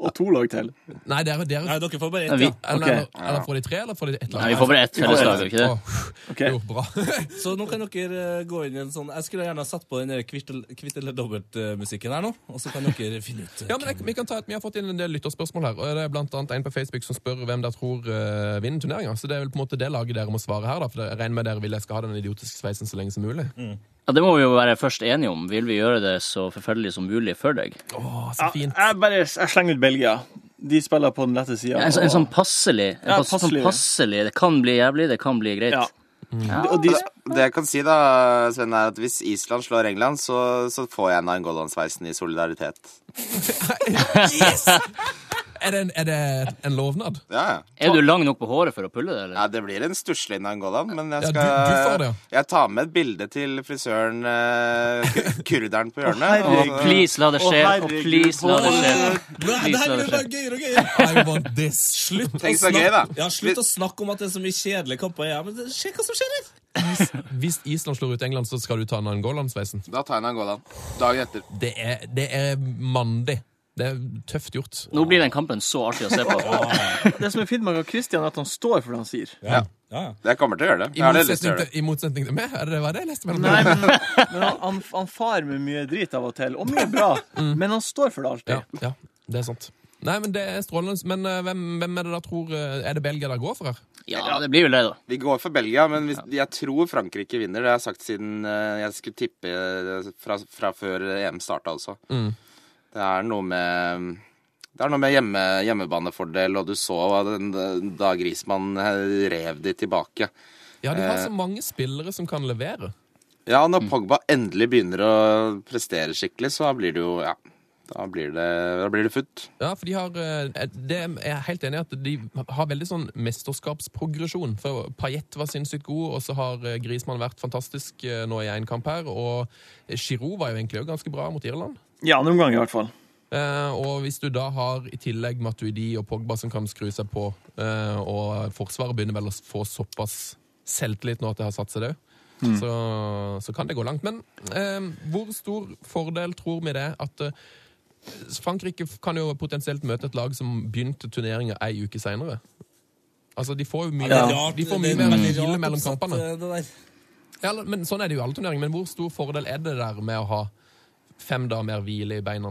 [SPEAKER 6] Og to lag til.
[SPEAKER 3] Nei, dere, dere
[SPEAKER 4] Nei, dere får bare
[SPEAKER 8] Nei,
[SPEAKER 4] ett.
[SPEAKER 8] vi-
[SPEAKER 4] Ja.
[SPEAKER 3] eller,
[SPEAKER 6] ok.
[SPEAKER 3] eller, eller får de tre, eller får de ett lag?
[SPEAKER 8] Nei, vi får bare ett felles
[SPEAKER 6] ett.
[SPEAKER 8] lag, gjør vi ikke det?
[SPEAKER 3] Åh,
[SPEAKER 6] Ok.
[SPEAKER 3] jo, bra.
[SPEAKER 4] Så nå kan dere eh, gå inn i en sånn Jeg skulle gjerne ha satt på den der kvitt eller- kvitt eller dobbelt-musikken her nå, og så kan dere finne ut. eh,
[SPEAKER 3] Ja, men jeg, vi kan ta at Vi har fått inn en del lytterspørsmål her. og Det er blant annet en på Facebook som spør hvem dere tror eh, vinner turneringa. Så det er vel på en måte det laget dere må svare her, da. For jeg regner med dere vil jeg skal ha den idiotiske sveisen så lenge som mulig.
[SPEAKER 8] Ja, det må vi jo være først enige om. Vil vi gjøre det så forferdelig som mulig for deg?
[SPEAKER 3] Åh, så fint.
[SPEAKER 6] Jeg bare jeg slenger ut Belgia. De spiller på den lette sida.
[SPEAKER 8] Ja, en, sånn- en sånn passelig. En
[SPEAKER 6] Ja,
[SPEAKER 8] pass,
[SPEAKER 6] passelig.
[SPEAKER 8] Sånn passelig. Det kan bli jævlig, det kan bli greit.
[SPEAKER 6] Ja. Og de,
[SPEAKER 7] Det jeg kan si, da, Sven, er at hvis Island slår England, så, så får jeg Nangolan-sveisen i solidaritet.
[SPEAKER 3] Er det en, er det en lovnad?
[SPEAKER 7] Ja, ja.
[SPEAKER 8] Er du lang nok på håret for å pulle det, eller?
[SPEAKER 7] Nei, det blir en stusslig Nangolan, men jeg
[SPEAKER 3] Ja, du-
[SPEAKER 7] skal
[SPEAKER 3] du får det, ja.
[SPEAKER 7] Jeg tar med et bilde til frisøren eh, ku- kurderen på hjørnet.
[SPEAKER 6] herregud.
[SPEAKER 7] og-
[SPEAKER 8] Please, la det
[SPEAKER 6] Å,
[SPEAKER 8] skje. Og
[SPEAKER 6] herregud,
[SPEAKER 8] please, la det skje.
[SPEAKER 4] Nei, det
[SPEAKER 8] Please,
[SPEAKER 4] her
[SPEAKER 8] la det
[SPEAKER 4] blir bare
[SPEAKER 8] skje.
[SPEAKER 4] gøyere og gøyere.
[SPEAKER 3] I want this.
[SPEAKER 4] Slutt, å
[SPEAKER 7] Tenk så gøy, da.
[SPEAKER 4] snakke- ja, slutt å snakke om at det er så mye kjedelige kamper. Ja, men det- se hva som skjer her!
[SPEAKER 3] Hvis Island slår ut England, så skal du ta Nangolan-sveisen.
[SPEAKER 7] da tar jeg Nangolan. Dagen etter.
[SPEAKER 3] Det er, det er mandig. Det er tøft gjort.
[SPEAKER 8] Nå blir den kampen så artig å se på.
[SPEAKER 6] det som er fint med han Christian, er at han står for det han sier.
[SPEAKER 4] Ja. Ja.
[SPEAKER 7] Jeg kommer til å gjøre det.
[SPEAKER 3] I
[SPEAKER 7] Jeg har litt lyst til å
[SPEAKER 3] motsetning til, i motsetning
[SPEAKER 7] gjøre det.
[SPEAKER 3] til meg? Er det hva er det jeg leste mellom
[SPEAKER 6] Nei,
[SPEAKER 3] dere?
[SPEAKER 6] men, men han, han, han far med mye drit av og til, og mye bra, men han står for det alltid.
[SPEAKER 3] Mm. Ja, ja, det er sant. Nei, men det er strålende. Men eh, hvem, hvem er det da tror eh, Er det Belgia dere går for her?
[SPEAKER 8] Ja, det blir vel det, da.
[SPEAKER 7] Vi går for Belgia, men hvis, jeg tror Frankrike vinner. Det har jeg sagt siden eh, jeg skulle tippe eh, fra, fra før EM starta også.
[SPEAKER 3] Mm.
[SPEAKER 7] Det er noe med det er noe med hjemme, hjemmebanefordel, og du så hva den- da Grismann eh, rev de tilbake.
[SPEAKER 3] Ja, de har så mange spillere som kan levere.
[SPEAKER 7] Ja, når
[SPEAKER 8] Mm.
[SPEAKER 7] Pogba endelig begynner å prestere skikkelig, så blir det jo Ja, da blir det, da blir det futt.
[SPEAKER 3] Ja, for de har eh, det er Jeg er helt enig i at de har veldig sånn mesterskapsprogresjon. For Payet var sinnssykt god, og så har eh, Griezmann vært fantastisk eh, nå i én kamp her. Og Giroud var jo egentlig òg ganske bra mot Irland.
[SPEAKER 6] Ja, noen ganger i hvert fall.
[SPEAKER 3] Eh, og hvis du da har i tillegg Matuidi og Pogba som kan skru seg på, eh, og Forsvaret begynner vel å få såpass selvtillit nå at det har satt seg det òg, så, så kan det gå langt. Men eh, hvor stor fordel tror vi det at eh, Frankrike kan jo potensielt møte et lag som begynte turneringa ei uke seinere? Altså, de får jo mye,
[SPEAKER 4] Det er rart-
[SPEAKER 3] de får
[SPEAKER 4] det
[SPEAKER 3] mye
[SPEAKER 4] er
[SPEAKER 3] mer
[SPEAKER 4] veldig
[SPEAKER 3] hvile
[SPEAKER 4] rart
[SPEAKER 3] mellom
[SPEAKER 4] oppsatt,
[SPEAKER 3] kampene.
[SPEAKER 4] eh, det der.
[SPEAKER 3] Ja, eller- men sånn er det jo i alle turneringer. Men hvor stor fordel er det der med å ha fem dager mer hvile i beina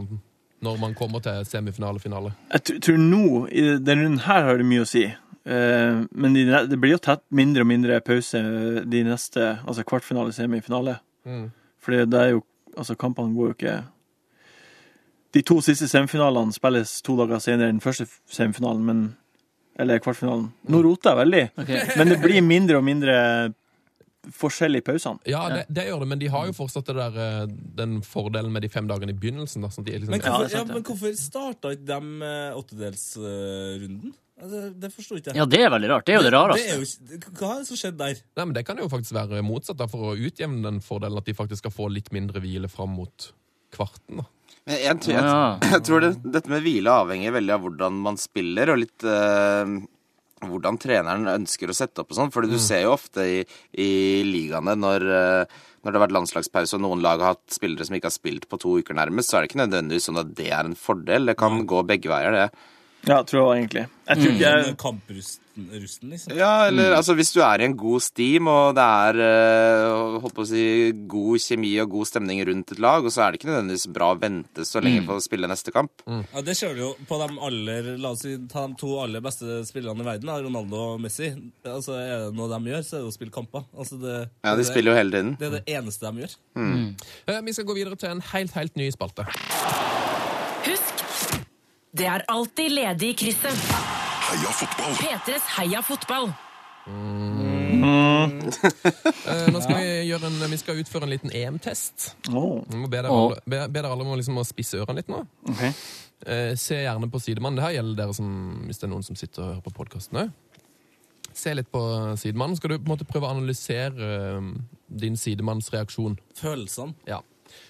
[SPEAKER 3] når man kommer til semifinale og finale?
[SPEAKER 6] Jeg tr- tror nå, i denne runden her, har det mye å si. Eh, men de, ne- det blir jo tett mindre og mindre pause eh, de neste, altså kvartfinale, semifinale. Fordi det er jo, altså kampene går jo ikke De to siste semifinalene spilles to dager senere enn den første semifinalen, men Eller kvartfinalen. Nå roter jeg veldig, men det blir mindre og mindre forskjell i pausene.
[SPEAKER 3] Ja, det, det gjør det, men de har jo fortsatt det der, eh, den fordelen med de fem dagene i begynnelsen. Da, sånn at de er liksom,
[SPEAKER 4] Men
[SPEAKER 3] ja.
[SPEAKER 6] det
[SPEAKER 4] hvorfor,
[SPEAKER 6] er
[SPEAKER 4] ja,
[SPEAKER 6] sant, ja.
[SPEAKER 4] men hvorfor starta ikke de eh, åttedelsrunden? Det, det forsto ikke jeg.
[SPEAKER 8] Ja, det er veldig rart. altså. Det er jo det
[SPEAKER 4] Det er
[SPEAKER 8] rareste.
[SPEAKER 4] jo, ikke- hva er det som skjedde der?
[SPEAKER 3] Nei, men Det kan jo faktisk være motsatt, da, for å utjevne den fordelen at de faktisk skal få litt mindre hvile fram mot kvarten. da.
[SPEAKER 7] Men Jeg, tror- jeg,
[SPEAKER 8] Ja.
[SPEAKER 7] jeg tror det, dette med hvile avhenger veldig av hvordan man spiller, og litt eh, hvordan treneren ønsker å sette opp og sånn. For
[SPEAKER 8] Mm.
[SPEAKER 7] du ser jo ofte i, i ligaene når, eh, når det har vært landslagspause og noen lag har hatt spillere som ikke har spilt på to uker nærmest, så er det ikke nødvendigvis sånn at det er en fordel. Det kan gå begge veier, det.
[SPEAKER 6] Ja, tror jeg var egentlig. Jeg tror ikke jeg
[SPEAKER 4] Den Kamprusten, rusten, liksom.
[SPEAKER 7] Ja, eller altså hvis du er i en god steam, og det er eh, holdt på å si, god kjemi og god stemning rundt et lag, og så er det ikke nødvendigvis bra å vente så
[SPEAKER 4] Mm.
[SPEAKER 7] lenge på å spille neste kamp.
[SPEAKER 4] Ja, Det ser du jo på de aller La oss si, ta de to aller beste spillerne i verden, da, Ronaldo og Messi. Altså, Er det noe de gjør, så er det å spille kamper. Altså, det,
[SPEAKER 7] Ja, De
[SPEAKER 4] det,
[SPEAKER 7] spiller jo hele tiden.
[SPEAKER 4] det er det eneste de gjør.
[SPEAKER 3] Eh, Vi skal gå videre til en helt, helt ny spalte.
[SPEAKER 2] Husk, det er alltid ledig i krysset.
[SPEAKER 5] Heia fotball!
[SPEAKER 2] P3s Heia fotball.
[SPEAKER 3] Eh, Nå skal vi, gjøre en, vi skal utføre en liten EM-test.
[SPEAKER 6] Åh,
[SPEAKER 3] Vi må Be dere
[SPEAKER 8] Åh.
[SPEAKER 3] alle, be, be dere alle om å liksom å spisse ørene litt nå.
[SPEAKER 6] ok.
[SPEAKER 3] Eh, se gjerne på sidemannen. Det her gjelder dere som, hvis det er noen som sitter og hører på podkasten òg. Se litt på sidemannen. Skal du på en måte prøve å analysere eh, din sidemanns reaksjon?
[SPEAKER 4] Følelsene.
[SPEAKER 3] Ja.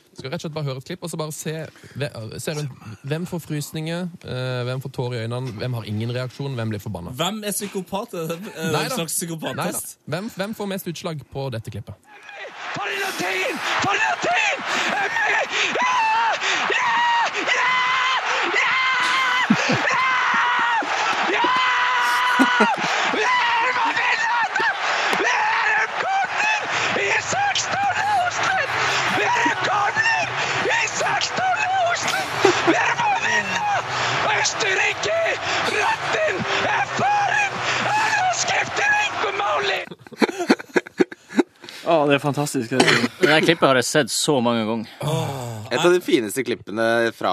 [SPEAKER 3] Du skal rett og slett bare høre et klipp og så bare se, ve- se rundt. Hvem får frysninger? eh, Hvem får tårer i øynene? Hvem har ingen reaksjon? Hvem blir forbanna?
[SPEAKER 4] Hvem er psykopat? Er det er det
[SPEAKER 3] Neida.
[SPEAKER 4] en slags
[SPEAKER 3] Neida.
[SPEAKER 4] psykopattest?
[SPEAKER 3] Hvem, hvem får mest utslag på dette klippet?
[SPEAKER 6] Åh, det er fantastisk. Det er.
[SPEAKER 8] Det der klippet har jeg sett så mange ganger.
[SPEAKER 7] Et av de fineste klippene fra,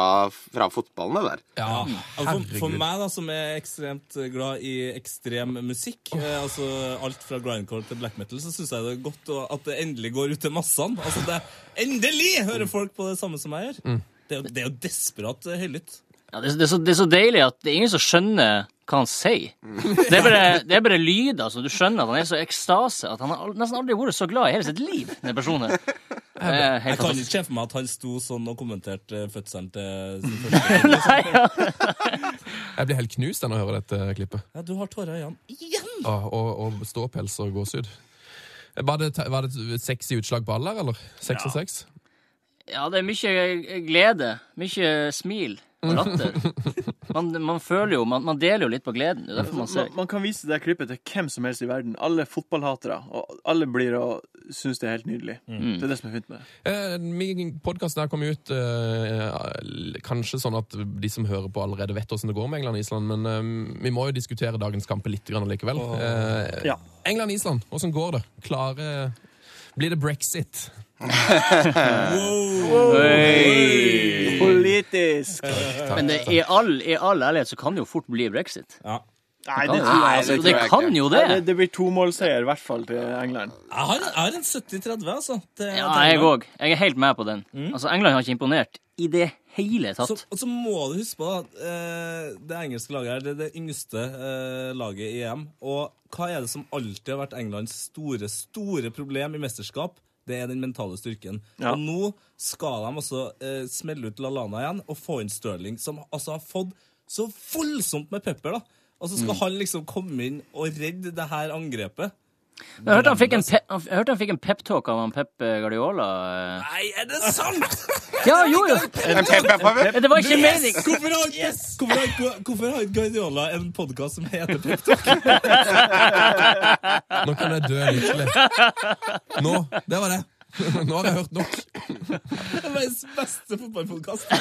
[SPEAKER 7] fra fotballen, det der.
[SPEAKER 3] Ja,
[SPEAKER 4] Og Altså, For, for
[SPEAKER 3] herregud.
[SPEAKER 4] meg, da, som er ekstremt glad i ekstrem musikk, eh, altså alt fra grindcore til black metal, så syns jeg det er godt å, at det endelig går ut til massene. Altså, det, endelig hører folk på det samme som jeg gjør! Det, er jo- det er jo desperat eh, høylytt.
[SPEAKER 8] Ja, det, er, det, er så, det er så deilig at det er ingen som skjønner hva han sier. Det er bare, det er bare lyd, altså. Du skjønner at han er så i ekstase at han har al- nesten aldri vært så glad i hele sitt liv, den personen. her. Det er
[SPEAKER 4] Jeg
[SPEAKER 8] helt
[SPEAKER 4] kan
[SPEAKER 8] fantastisk.
[SPEAKER 4] ikke se for meg at han sto sånn og kommenterte eh, fødselen til sin første
[SPEAKER 8] Nei, ja.
[SPEAKER 3] Jeg blir helt knust av å høre dette klippet.
[SPEAKER 4] Ja, du har tårer i øynene igjen!
[SPEAKER 3] Ja, og, og ståpels og gåsehud. Var det, var det et sexy utslag på alle, eller? Seks og seks?
[SPEAKER 8] ja, det er mye glede. Mye smil og latter. Man, man føler jo Man, man deler jo litt på gleden. Det er derfor man
[SPEAKER 6] Man,
[SPEAKER 8] ser.
[SPEAKER 6] man kan vise det klippet til hvem som helst i verden. Alle fotballhatere. Og alle blir og syns det er helt nydelig. Det er det som er fint med det.
[SPEAKER 3] Eh, min podkast kom jo ut eh, l- kanskje sånn at de som hører på, allerede vet hvordan det går med England og Island, men eh, vi må jo diskutere dagens kamper litt grann likevel. Eh,
[SPEAKER 6] Ja.
[SPEAKER 3] England-Island, hvordan går det? Klare Blir det brexit?
[SPEAKER 6] Politisk!
[SPEAKER 8] Men det, i, all, i all ærlighet så kan det jo fort bli brexit.
[SPEAKER 4] Ja.
[SPEAKER 6] Nei, det tror jeg
[SPEAKER 8] Nei,
[SPEAKER 6] altså
[SPEAKER 8] det
[SPEAKER 6] ikke.
[SPEAKER 8] kan jo det!
[SPEAKER 6] Nei, Det, det blir tomålseier, i hvert fall, til England.
[SPEAKER 4] Jeg har, jeg har en 70-30, altså. til-
[SPEAKER 8] Ja,
[SPEAKER 4] til
[SPEAKER 8] jeg
[SPEAKER 4] England.
[SPEAKER 8] òg. Jeg er helt med på den.
[SPEAKER 6] Mm.
[SPEAKER 8] Altså, England har ikke imponert i det hele
[SPEAKER 4] Så,
[SPEAKER 8] tatt.
[SPEAKER 4] og så må du huske på at eh, det engelske laget her, det er det yngste eh, laget i EM. Og hva er det som alltid har vært Englands store, store problem i mesterskap? Det er den mentale styrken.
[SPEAKER 6] Ja.
[SPEAKER 4] Og nå skal de altså eh, smelle ut Lallana igjen og få inn Stirling, som altså har fått så voldsomt med pepper, da. Og så skal han liksom komme inn og redde det her angrepet.
[SPEAKER 8] Men Jeg hørte han fikk en, pe han- jeg hørte han fikk en peptalk av han Pep eh, Guardiola. eh.
[SPEAKER 4] Nei, er det sant?!
[SPEAKER 8] Ja, jo, jo!
[SPEAKER 7] Pep-pep-pep.
[SPEAKER 8] Det var ikke meningen!
[SPEAKER 4] Hvorfor har, hvorfor har, hvorfor har Guardiola en podkast som heter Pep Talk?
[SPEAKER 3] Nå kan jeg dø lykkelig. Nå. Det var det. Nå har jeg hørt nok.
[SPEAKER 4] Det er verdens beste fotballpodkast.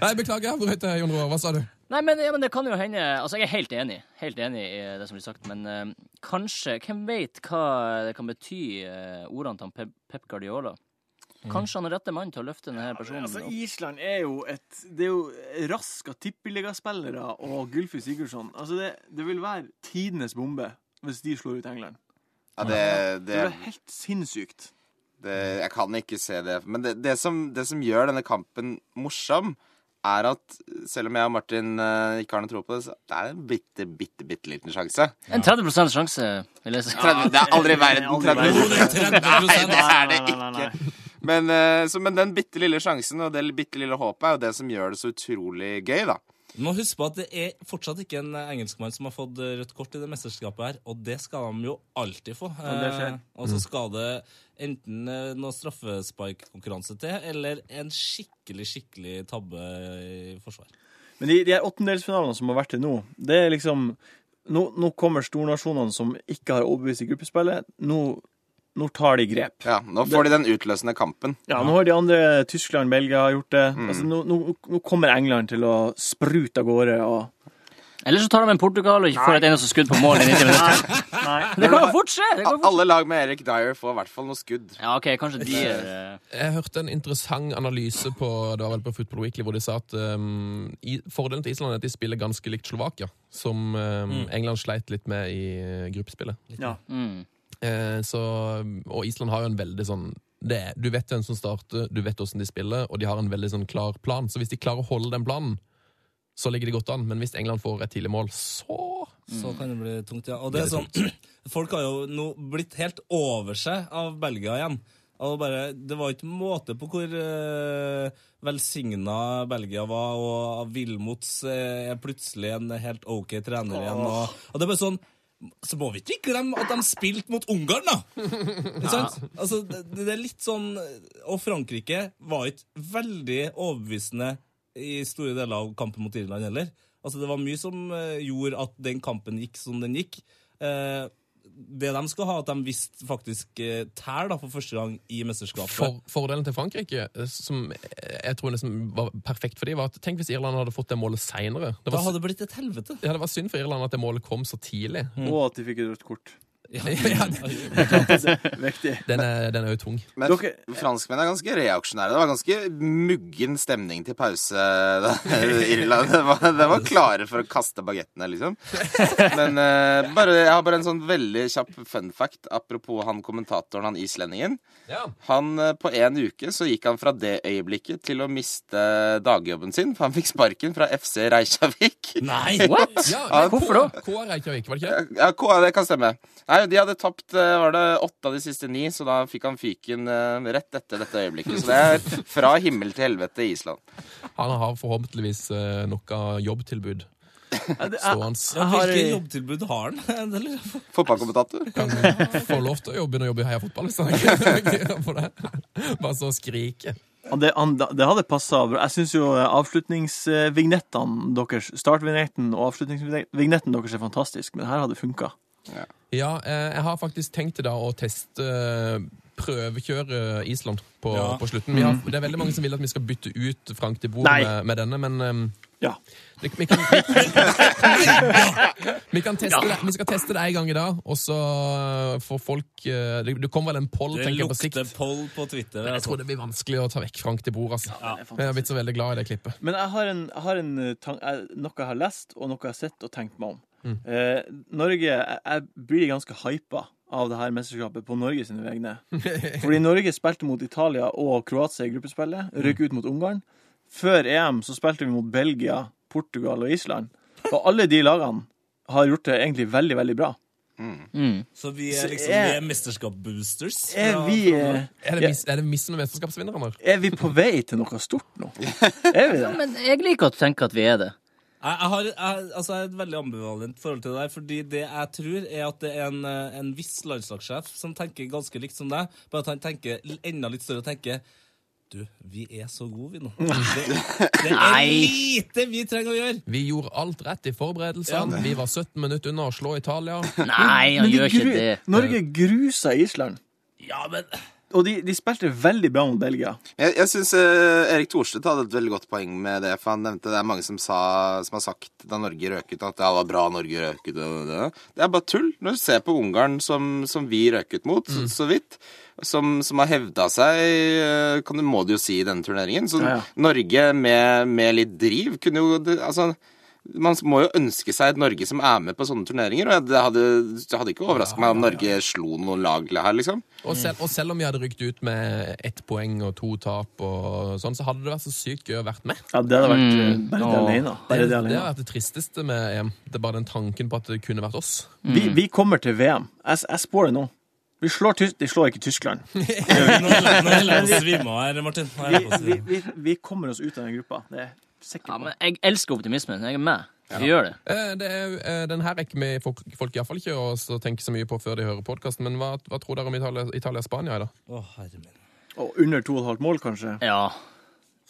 [SPEAKER 3] Nei, beklager, jeg brøt deg, Jon Roar. Hva sa du?
[SPEAKER 8] Nei, men, ja, men det kan jo hende Altså, jeg er helt enig Helt enig i det som blir sagt, men eh, kanskje Hvem vet hva det kan bety, eh, ordene til han Pep, Pep Guardiola? Kanskje han er rette mann til å løfte denne personen
[SPEAKER 6] Altså,
[SPEAKER 8] opp?
[SPEAKER 6] Island er jo et Det er jo rask av tippeligaspillere og Gylfi Sigurdsson. Altså, det, det vil være tidenes bombe hvis de slår ut England.
[SPEAKER 7] Ja, det,
[SPEAKER 6] Det
[SPEAKER 7] det,
[SPEAKER 6] blir helt sinnssykt.
[SPEAKER 7] det, jeg kan ikke se det. Men det, det, som, det som gjør denne kampen morsom, er at selv om jeg og Martin eh, ikke har noe tro på det, så det er en bitte, bitte, bitte liten sjanse.
[SPEAKER 8] En 30 sjanse, vil jeg si.
[SPEAKER 7] Det er aldri i verden
[SPEAKER 6] Aldri i verden.
[SPEAKER 7] 30 Nei, det er
[SPEAKER 6] Nei,
[SPEAKER 7] det
[SPEAKER 6] nei, nei, nei.
[SPEAKER 7] ikke. Men, eh, så, men den bitte lille sjansen og det bitte lille håpet er jo det som gjør det så utrolig gøy, da.
[SPEAKER 4] Du må huske på at det er fortsatt ikke en eh, engelskmann som har fått eh, rødt kort i det mesterskapet her, og det skal de jo alltid få.
[SPEAKER 6] det skjer.
[SPEAKER 4] Eh, og så skal det enten eh, noe straffesparkkonkurranse til, eller en skikkelig, skikkelig tabbe i forsvar.
[SPEAKER 6] Men de, de her åttendelsfinalene som har vært til nå, det er liksom Nå, nå kommer stornasjonene som ikke har overbevist i gruppespillet. Nå, nå tar de grep.
[SPEAKER 7] Ja, Nå får de den utløsende kampen.
[SPEAKER 6] Ja, nå har de andre Tyskland, Belgia har gjort det. Altså, nå, nå, nå kommer England til å sprute av gårde og
[SPEAKER 8] Eller så tar de en Portugal og ikke får et eneste skudd på mål i 90 minutter. Det kan jo fort skje! Det kan jo fort skje.
[SPEAKER 7] Alle lag med Erik Dyer får i hvert fall noe skudd.
[SPEAKER 8] Ja, OK, kanskje de er eh,
[SPEAKER 3] Jeg hørte en interessant analyse på det var vel på Football Weekly hvor de sa at um, i, fordelen til Island er at de spiller ganske likt Slovakia, som um, England sleit litt med i eh, gruppespillet.
[SPEAKER 6] Ja.
[SPEAKER 8] mm.
[SPEAKER 3] Eh, så, og Island har jo en veldig sånn det, er- Du vet hvem som starter, du vet åssen de spiller, og de har en veldig sånn klar plan. Så hvis de klarer å holde den planen, så ligger de godt an. Men hvis England får et tidlig mål, så
[SPEAKER 4] Så kan det bli tungt, ja. Og det er sånn, folk har jo nå blitt helt over seg av Belgia igjen. Og bare, det var ikke måte på hvor uh, velsigna Belgia var, og Vilmots eh, er plutselig en helt OK trener igjen. Og, og det er bare sånn så må vi ikke glemme at de spilte mot Ungarn, da! Ikke sant? Altså, det, det er litt sånn Og Frankrike var ikke veldig overbevisende i store deler av kampen mot Irland heller. Altså, det var mye som eh, gjorde at den kampen gikk som den gikk. Eh, det de skal ha, at de visste faktisk uh, tæl da, for første gang i mesterskapet.
[SPEAKER 3] for, Fordelen til Frankrike, eh, som jeg tror nesten var perfekt for dem, var at tenk hvis Irland hadde fått det målet seinere. Det,
[SPEAKER 4] Da
[SPEAKER 3] var-
[SPEAKER 4] hadde det blitt et helvete.
[SPEAKER 3] ja, det var synd for Irland at det målet kom så tidlig.
[SPEAKER 6] Og at de fikk et rødt kort.
[SPEAKER 3] Ja,
[SPEAKER 6] Viktig.
[SPEAKER 3] den, er, den er jo tung.
[SPEAKER 7] Men
[SPEAKER 6] Dere-
[SPEAKER 7] franskmennene er ganske reaksjonære. Det var ganske muggen stemning til pause. da, i Irland. De var, de var klare for å kaste bagettene, liksom. Men eh, bare, jeg har bare en sånn veldig kjapp fun fact apropos han kommentatoren, han islendingen.
[SPEAKER 3] Ja.
[SPEAKER 7] Han, eh, På én uke så gikk han fra det øyeblikket til å miste dagjobben sin. For han fikk sparken fra FC Reykjavik.
[SPEAKER 4] Nei!
[SPEAKER 8] What?! Hvorfor da?
[SPEAKER 3] K Reykjavik, var det ikke?
[SPEAKER 7] Ja, K, det kan stemme. Nei, De hadde tapt eh, var det åtte av de siste ni, så da fikk han fyken eh, rett etter dette øyeblikket. Så det er fra himmel til helvete i Island.
[SPEAKER 3] Han har forhåpentligvis eh, noe jobbtilbud
[SPEAKER 6] Jeg, jeg,
[SPEAKER 3] stående.
[SPEAKER 4] Ja,
[SPEAKER 6] har-
[SPEAKER 4] Hvilke jobbtilbud har han? Det lurer jeg på.
[SPEAKER 7] Fotballkommentator.
[SPEAKER 3] Kan få lov til å jobbe, begynne å jobbe i Heia Fotball hvis han ikke på det. Bare så skrike.
[SPEAKER 6] det, han, det hadde passa bra. Jeg syns jo eh, avslutningsvignettene deres, startvignetten og avslutningsvignetten deres er fantastisk, men her hadde det funka.
[SPEAKER 3] Ja, eh, jeg har faktisk tenkt til da å teste eh, prøvekjøre Island på,
[SPEAKER 4] Ja.
[SPEAKER 3] på slutten. Vi har, det er veldig mange som vil at vi skal bytte ut Frank de Boer
[SPEAKER 6] Nei.
[SPEAKER 3] med, med denne, men ehm,
[SPEAKER 6] Ja.
[SPEAKER 3] det, vi, kan, vi, kan teste det, vi skal teste det en gang i dag, og så får folk eh, Det, det kommer vel en poll,
[SPEAKER 4] Det
[SPEAKER 3] tenker jeg, på sikt.
[SPEAKER 4] lukter poll på Twitter.
[SPEAKER 3] Jeg tror det blir vanskelig å ta vekk Frank de Boer, altså.
[SPEAKER 6] fantastisk.
[SPEAKER 3] jeg har blitt så veldig glad i det klippet.
[SPEAKER 6] Men jeg har, en, jeg har en, eh, tan- jeg, noe jeg har lest, og noe jeg har sett og tenkt meg om. Eh, Norge jeg, jeg blir ganske hypa av det her mesterskapet på Norge sine vegne. Fordi Norge spilte mot Italia og Kroatia i gruppespillet, røk ut mot Ungarn. Før EM så spilte vi mot Belgia, Portugal og Island. Og alle de lagene har gjort det egentlig veldig, veldig bra.
[SPEAKER 4] Så vi er
[SPEAKER 6] Så
[SPEAKER 4] liksom
[SPEAKER 6] er-
[SPEAKER 4] vi er mesterskapsboosters.
[SPEAKER 6] Er
[SPEAKER 4] fra-
[SPEAKER 6] vi, eh,
[SPEAKER 3] Er det, mis, er det missende mesterskapsvinnere her?
[SPEAKER 6] er vi på vei til noe stort nå? Er vi det?
[SPEAKER 8] Men jeg liker å tenke at vi er det.
[SPEAKER 4] Jeg, jeg, har, jeg, altså jeg er et veldig ambivalent forhold til det der, fordi det jeg tror er at det er en, eh, en viss landslagssjef som tenker ganske likt som deg, bare at han tenker l- enda litt større og tenker Du, vi er så gode, vi nå. Det, det er
[SPEAKER 8] Nei.
[SPEAKER 4] lite vi trenger å gjøre!
[SPEAKER 3] Vi gjorde alt rett i forberedelsene. Vi var 17 minutter unna å slå Italia.
[SPEAKER 8] Nei,
[SPEAKER 6] Men
[SPEAKER 8] han
[SPEAKER 6] de
[SPEAKER 8] gjør ikke
[SPEAKER 6] gru-
[SPEAKER 8] det.
[SPEAKER 6] Norge grusa Island.
[SPEAKER 4] Ja, men
[SPEAKER 6] Og de, de spilte veldig bra mot Belgia.
[SPEAKER 7] Jeg, jeg syns Erik Thorstvedt hadde et veldig godt poeng med det. For han nevnte det er mange som, sa, som har sagt da Norge røk ut, at ja, det var bra Norge røk ut. og Det, det er bare tull. Når du ser på Ungarn, som, som vi røk ut mot,
[SPEAKER 6] Mm.
[SPEAKER 7] så, så vidt, som, som har hevda seg, eh, kan du, må du jo si, i denne turneringen. Så
[SPEAKER 6] Ja, ja.
[SPEAKER 7] Norge med, med litt driv kunne jo det- Altså man må jo ønske seg et Norge som er med på sånne turneringer. Og det hadde, det hadde ikke overraska meg om Norge slo noen lag her, liksom.
[SPEAKER 3] Og, selv, og selv om vi hadde rykt ut med ett poeng og to tap, og sånn, så hadde det vært så sykt gøy å vært med.
[SPEAKER 6] Ja, det hadde vært eh, bare det
[SPEAKER 8] ja.
[SPEAKER 6] alene. Bare det
[SPEAKER 3] Det
[SPEAKER 6] alene.
[SPEAKER 3] har vært det tristeste med EM. Det er bare den tanken på at det kunne vært oss.
[SPEAKER 6] Vi, vi kommer til VM. Jeg, jeg spår det nå. Vi slår Tys de slår ikke Tyskland.
[SPEAKER 4] Nå holder jeg på å svime av her, Martin. Nå holder
[SPEAKER 6] Vi,
[SPEAKER 4] jeg på å
[SPEAKER 6] vi,
[SPEAKER 4] svime.
[SPEAKER 6] vi, vi kommer oss ut av den gruppa. Det er sikkert.
[SPEAKER 8] Ja, men jeg elsker optimismen. Jeg er med. Vi gjør det.
[SPEAKER 3] Eh, Det er, jo, eh, den her rekker vi folk, folk iallfall ikke å så tenke så mye på før de hører podkasten, men hva, hva tror dere om Italia- Italia-Spania i dag?
[SPEAKER 4] Å, herre min.
[SPEAKER 6] Og under to og et halvt mål, kanskje.
[SPEAKER 8] Ja.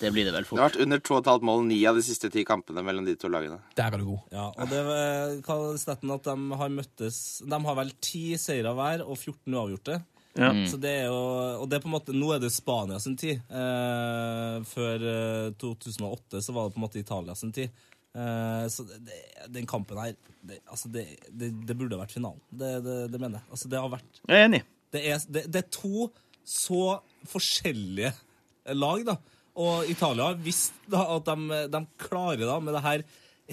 [SPEAKER 8] Det blir det vel
[SPEAKER 7] Det har
[SPEAKER 8] fort.
[SPEAKER 7] vært under 2,5 mål ni av de siste ti kampene mellom de to lagene.
[SPEAKER 3] Der er du god.
[SPEAKER 4] Ja, og det var hva var det Stetten at de har møttes De har vel ti seire hver og 14 uavgjorte.
[SPEAKER 6] Ja.
[SPEAKER 4] Så det er jo, og det er på en måte, Nå er det Spania sin tid. Eh, før eh, 2008 så var det på en måte Italia sin tid. Eh, så det, det, den kampen her det, altså det, det, det burde vært finalen. Det, det, det mener jeg. Altså det, har vært,
[SPEAKER 6] Jeg er enig.
[SPEAKER 4] det, er, det, det er to så forskjellige lag, da. Og Italia har visst da, at de, de klarer da med det her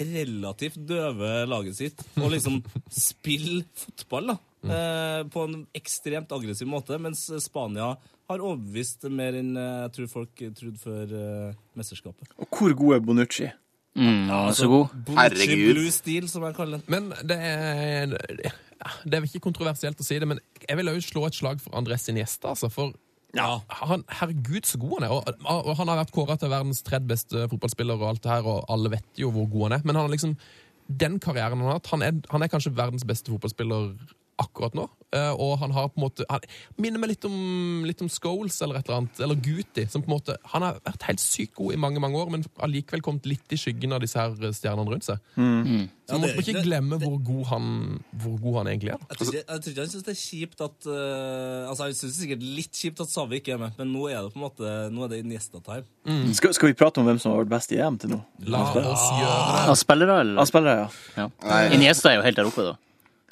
[SPEAKER 4] relativt døve laget sitt å liksom spille fotball da, eh, på en ekstremt aggressiv måte, mens Spania har overbevist mer enn eh, jeg tror folk trodde før eh, mesterskapet.
[SPEAKER 6] Og hvor god er Bonucci?
[SPEAKER 8] Mm, ja, så god.
[SPEAKER 7] Herregud.
[SPEAKER 4] Blue Steel, som jeg kaller den.
[SPEAKER 3] Men det er Det er vel ikke kontroversielt å si det, men jeg vil òg slå et slag for Andrés sin gjeste, altså. For han, herregud, så god han er. Og, og han har vært kåra til verdens tredje beste fotballspiller, og alt det her, og alle vet jo hvor god han er. Men han har liksom den karrieren han har hatt Han er, han er kanskje verdens beste fotballspiller akkurat nå. Eh, og han har på en måte han, Minner meg litt om, litt om Scholes eller et eller annet. Eller Guti. Som på en måte, han har vært helt sykt god i mange mange år, men allikevel kommet litt i skyggen av disse her stjernene rundt seg. Så man
[SPEAKER 4] Ja, det-
[SPEAKER 3] må ikke
[SPEAKER 4] det-
[SPEAKER 3] glemme hvor god han, hvor god han egentlig er. da.
[SPEAKER 4] Jeg tror, ikke, jeg tror ikke han syns det er kjipt at eh, Altså, han syns sikkert litt kjipt at Savi ikke er med, men nå er det på en måte Nå er det Iniesta-time.
[SPEAKER 6] Skal, skal vi prate om hvem som har vært best i EM til nå?
[SPEAKER 3] La oss gjøre det.
[SPEAKER 8] Av spillere,
[SPEAKER 6] Han
[SPEAKER 8] eller?
[SPEAKER 6] spiller, ja.
[SPEAKER 8] Ja. Iniesta er jo helt der oppe, da.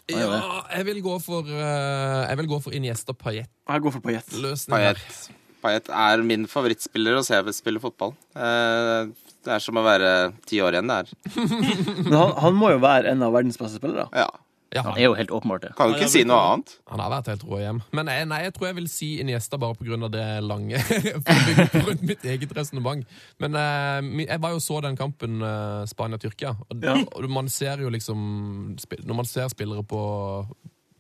[SPEAKER 3] Ja, jeg vil gå for, eh, jeg vil gå for Iniesta Payet-løsning.
[SPEAKER 6] Jeg går for Payet.
[SPEAKER 3] her.
[SPEAKER 7] Payet. Payet er min favorittspiller å se spille fotball. Eh, Det er som å være ti år igjen, det her.
[SPEAKER 6] Men han, han må jo være en av verdens beste spillere.
[SPEAKER 7] Ja.
[SPEAKER 3] Ja,
[SPEAKER 8] Han er jo helt åpenbart det.
[SPEAKER 7] Kan jo ikke si noe annet.
[SPEAKER 3] han har vært helt rå hjem. Men jeg, nei, jeg tror jeg vil si Iniesta bare på grunn av det lange. for å bygge opp rundt mitt eget resonnement. Men eh, mi- jeg var jo så den kampen eh, Spania-Tyrkia, og,
[SPEAKER 6] Ja.
[SPEAKER 3] og man ser jo liksom spi- Når man ser spillere på,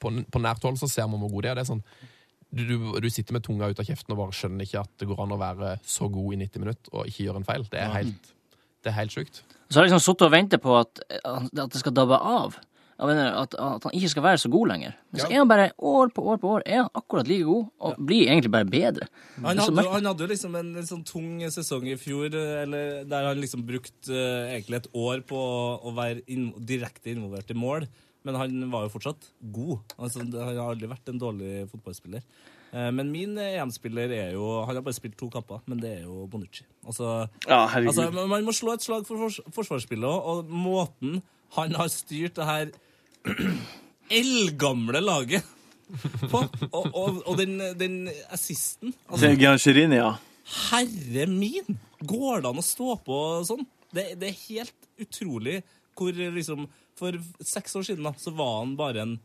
[SPEAKER 3] på, n- på nært hold, så ser man hvor gode de er. Det er sånn du, du, du sitter med tunga ut av kjeften og bare skjønner ikke at det går an å være så god i 90 minutter og ikke gjøre en feil. Det er helt, det er helt sjukt.
[SPEAKER 8] Så har jeg liksom sittet og ventet på at, at det skal dabbe av. Jeg mener, at, at han ikke skal være så god lenger. Men så er han bare år på år på år er han akkurat like god, og blir egentlig bare bedre.
[SPEAKER 4] Han
[SPEAKER 8] Det er så
[SPEAKER 4] hadde, jo-
[SPEAKER 8] merkelig.
[SPEAKER 4] han hadde jo liksom en, litt sånn tung sesong i fjor, eh, eller, der han liksom brukt eh, egentlig et år på å, å være inn, direkte involvert i mål. Men han var jo fortsatt god. Altså, det- han har aldri vært en dårlig fotballspiller. Eh, Men min EM-spiller er jo Han har bare spilt to kamper, men det er jo Bonucci. Altså,
[SPEAKER 6] Ja, herregud.
[SPEAKER 4] altså man- Man må slå et slag for fors forsvarsspillet òg, og måten han har styrt det her eldgamle laget på, og, og, og den, den assisten altså,
[SPEAKER 6] Til Giancherini, ja.
[SPEAKER 4] Herre min! Går det an å stå på sånn? Det, det er helt utrolig hvor liksom For seks år siden da, så var han bare en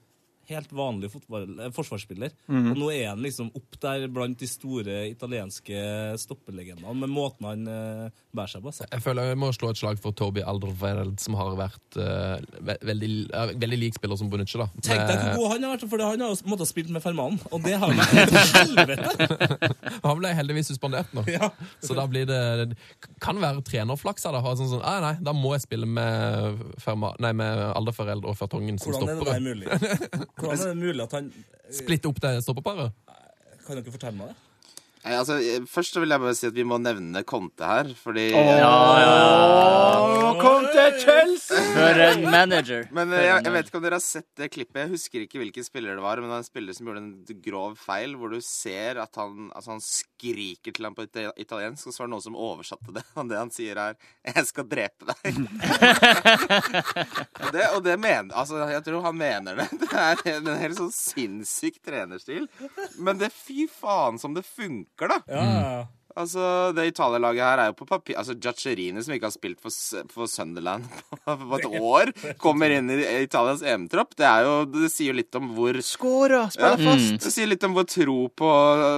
[SPEAKER 4] helt vanlig fotball, eh, forsvarsspiller. Og nå er han liksom opp der blant de store italienske stoppelegendene med måten han eh, bærer seg på. Så.
[SPEAKER 3] Jeg føler jeg må slå et slag for Toby Alderweireld, som har vært eh, ve veldig, er veldig lik spiller som Bonucci. da.
[SPEAKER 4] Tenk deg hvor god han har vært, for han har jo måttet ha spilt med Fermanen. Og det har vært et helvete!
[SPEAKER 3] Men eh, Han ble heldigvis suspendert nå, så da blir det det kan være trenerflaks. her, Da Ha sånn, sånn, «Ah, nei, da må jeg spille med, Ferma- nei, med Alderweireld og Fertongen som
[SPEAKER 4] Hvordan er det der
[SPEAKER 3] stoppere.
[SPEAKER 4] mulig? Hvordan er det mulig at han
[SPEAKER 3] Splitte opp det stopperparet.
[SPEAKER 4] Kan dere fortelle meg det?
[SPEAKER 7] Nei, altså, eh, først så vil jeg bare si at vi må nevne Conte her, fordi eh,
[SPEAKER 6] Kom til Chelsea!
[SPEAKER 8] For en manager.
[SPEAKER 7] Men eh, jeg, jeg vet ikke om dere har sett det klippet. Jeg husker ikke hvilken spiller det var, men det var en spiller som gjorde en grov feil, hvor du ser at han, altså han skriker til ham på ita- italiensk, og så var det noen som oversatte det. Og det han sier, er 'Jeg skal drepe deg'. og det, og det mener Altså, jeg tror han mener det. Det er en en helt sånn sinnssyk trenerstil. Men det fy faen som det funker, da.
[SPEAKER 4] Ja, ja, ja.
[SPEAKER 7] Altså, Det Italia-laget her er jo på papir Altså, Giaccherini, som ikke har spilt for, S- for Sunderland på på et år, kommer inn i Italias EM-tropp. Det er jo, det sier jo litt om hvor Mm.
[SPEAKER 6] Skåra! Spiller fast!
[SPEAKER 7] Det sier litt om hvor tro på,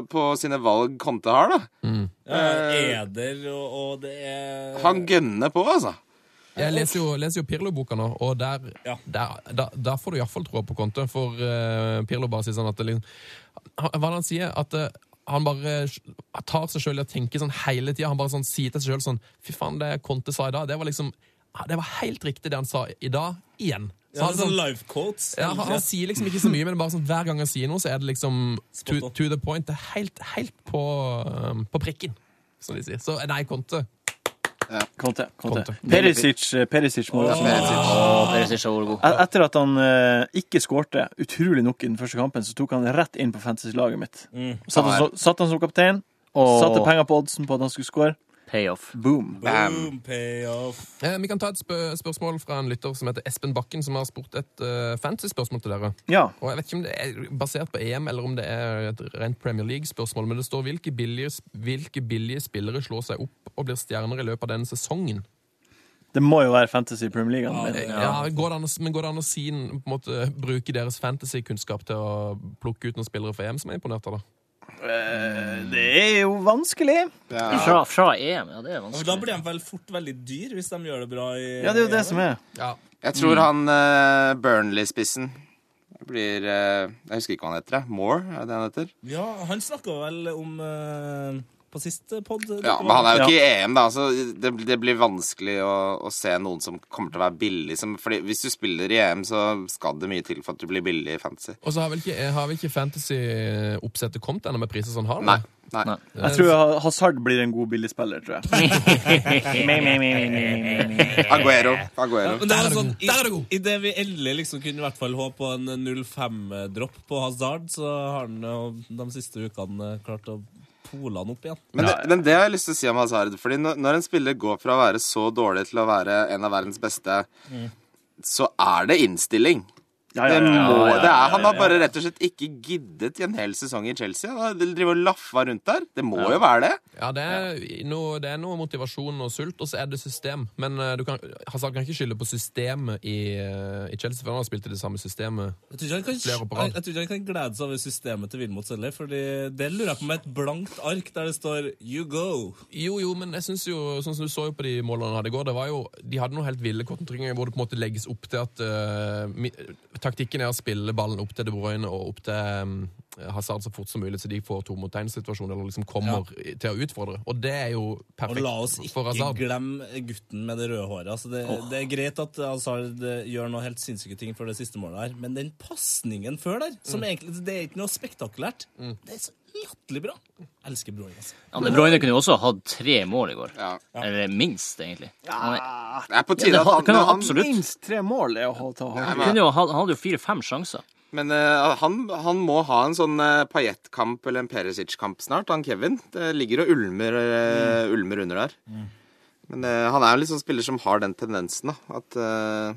[SPEAKER 7] på sine valg Conte har, da.
[SPEAKER 4] Ja, Eder, og, og det er
[SPEAKER 7] Han gønner på, altså.
[SPEAKER 3] Jeg leser jo, leser jo Pirlo-boka nå, og der,
[SPEAKER 4] Ja.
[SPEAKER 3] der, da- der får du iallfall troa på Conte. For eh, Pirlo bare sier sånn at det liksom, han, Hva er det han sier? At eh, han bare sj- tar seg sjøl i å tenke sånn hele tida. Han bare sånn, sier til seg sjøl sånn Fy faen, det Conte sa i dag, det var liksom ja, Det var helt riktig, det han sa i dag, igjen. Så
[SPEAKER 4] Ja,
[SPEAKER 3] han
[SPEAKER 4] det er sånn
[SPEAKER 3] sånn-
[SPEAKER 4] life quotes.
[SPEAKER 3] ja, han, han sier liksom ikke så mye, men bare sånn, hver gang han sier noe, så er det liksom to,
[SPEAKER 4] on.
[SPEAKER 3] to the point. Det er helt, helt på, eh, på prikken. som de sier. Så eh, nei, Conte.
[SPEAKER 6] Conte. Conte.
[SPEAKER 3] Conte.
[SPEAKER 6] Perisic, eh, Perisic må
[SPEAKER 7] Ja, Perisic.
[SPEAKER 8] Å, Perisic er god.
[SPEAKER 6] Et- Etter at han eh, ikke skårte utrolig nok i den første kampen, så tok han rett inn på fantasy-laget mitt. Satt han, så- satt han som kaptein,
[SPEAKER 8] Mm. Og
[SPEAKER 6] satte penger på oddsen på at han skulle skåre.
[SPEAKER 8] payoff.
[SPEAKER 6] Boom.
[SPEAKER 4] Boom, payoff.
[SPEAKER 3] Eh, vi kan ta et spø spørsmål fra en lytter som heter Espen Bakken, som har spurt et eh, fantasy-spørsmål til dere.
[SPEAKER 6] Ja.
[SPEAKER 3] Og Jeg vet ikke om det er basert på EM eller om det er et rent Premier League-spørsmål, men det står hvilke billige, hvilke billige spillere slår seg opp og blir stjerner i løpet av denne sesongen.
[SPEAKER 6] Det må jo være Fantasy i Premier League. han mener.
[SPEAKER 3] Ja, går det an, å- men går det an å si, på en måte, bruke deres fantasy-kunnskap til å plukke ut noen spillere fra EM som er imponert av det?
[SPEAKER 6] Eh, Det er jo vanskelig.
[SPEAKER 8] Fra, fra EM, ja, det er
[SPEAKER 4] Altså, da
[SPEAKER 8] vanskelig.
[SPEAKER 4] blir de vel fort veldig dyr hvis de gjør det bra i
[SPEAKER 6] Ja, det er jo det som er.
[SPEAKER 3] Ja.
[SPEAKER 7] Jeg tror han eh, Burnley-spissen blir eh, Jeg husker ikke hva han heter. jeg. Moore, er det han heter?
[SPEAKER 4] Ja, han snakka vel om eh, på sist pod.
[SPEAKER 7] Ja, Men han er jo ikke i EM, da. Så det, det blir vanskelig å, å se noen som kommer til å være billig. Som, fordi hvis du spiller i EM, så skal det mye til for at du blir billig i fantasy.
[SPEAKER 3] Og så har vel ikke, har vel ikke fantasy-oppsettet kommet ennå med priser som har?
[SPEAKER 7] Nei. nei.
[SPEAKER 8] Nei.
[SPEAKER 6] Jeg tror Ha- Hazard blir en god billigspiller, tror jeg.
[SPEAKER 7] Aguero. Aguero.
[SPEAKER 4] Men det
[SPEAKER 3] Der er
[SPEAKER 4] var
[SPEAKER 3] du
[SPEAKER 4] sånn,
[SPEAKER 3] god.
[SPEAKER 4] i,
[SPEAKER 3] Der er du god.
[SPEAKER 4] I det vi endelig liksom kunne i hvert fall håpe på en 05-dropp på Hazard, så har han eh, de siste ukene eh, klart å pole han opp igjen.
[SPEAKER 7] Men, det, men det har jeg lyst til å si om Hazard. Fordi når, når en spiller går fra å være så dårlig til å være en av verdens beste, så er det innstilling.
[SPEAKER 6] Ja,
[SPEAKER 7] Det
[SPEAKER 6] ja, ja,
[SPEAKER 7] må,
[SPEAKER 6] ja, ja,
[SPEAKER 7] det er, han
[SPEAKER 6] ja,
[SPEAKER 7] har
[SPEAKER 6] ja.
[SPEAKER 7] bare rett og slett ikke giddet i en hel sesong i Chelsea. Han har driver og laffa rundt der. Det må jo være det.
[SPEAKER 3] Ja, det er, noe, det er noe motivasjon og sult, og så er det system. Men eh, du kan, Hazard kan ikke skylde på systemet i, eh, i Chelsea, for han har spilt i det samme systemet.
[SPEAKER 4] Jeg tror, ikke han kan,
[SPEAKER 3] Flere på rad.
[SPEAKER 4] jeg, jeg tror ikke han kan glede seg over systemet til Wilmots heller, Fordi det lurer jeg på med et blankt ark der det står 'you go'.
[SPEAKER 3] Jo, jo, men jeg synes jo, sånn som du så jo på de målene han hadde i går, det var jo, de hadde noen helt ville kontringer hvor det på en måte legges opp til at eh, mi, taktikken er å spille ballen opp til De Bruyne og opp til eh, Hazard så fort som mulig, så de får to mot én-situasjoner eller liksom kommer i- til å utfordre. Og det er jo
[SPEAKER 4] Og
[SPEAKER 3] perfekt
[SPEAKER 4] la oss
[SPEAKER 3] for
[SPEAKER 4] ikke
[SPEAKER 3] Hazard.
[SPEAKER 4] glemme gutten med det røde håret. Altså det, det er greit at Hazard eh, gjør noe helt sinnssyke ting for det siste målet her, men den pasningen før der, som egentlig det er ikke noe spektakulært, det er så latterlig bra. Jeg elsker broren, altså.
[SPEAKER 8] Ja, De Bruyne kunne jo også hatt tre mål i går.
[SPEAKER 7] Ja.
[SPEAKER 8] Eller minst, egentlig. Han er-
[SPEAKER 6] Ah,
[SPEAKER 7] Det er på
[SPEAKER 8] det
[SPEAKER 7] tide at han,
[SPEAKER 8] kan han
[SPEAKER 7] når han
[SPEAKER 8] absolutt.
[SPEAKER 6] Minst tre mål er å ha ta Hazard.
[SPEAKER 8] Han kunne jo- han hadde jo fire-fem sjanser.
[SPEAKER 7] Men eh, han, han må ha en sånn uh, Paillette-kamp eller en Perisic-kamp snart, han Kevin. Det ligger og ulmer, eh, ulmer under der. Men eh, han er jo liksom spiller som har den tendensen, da. At eh,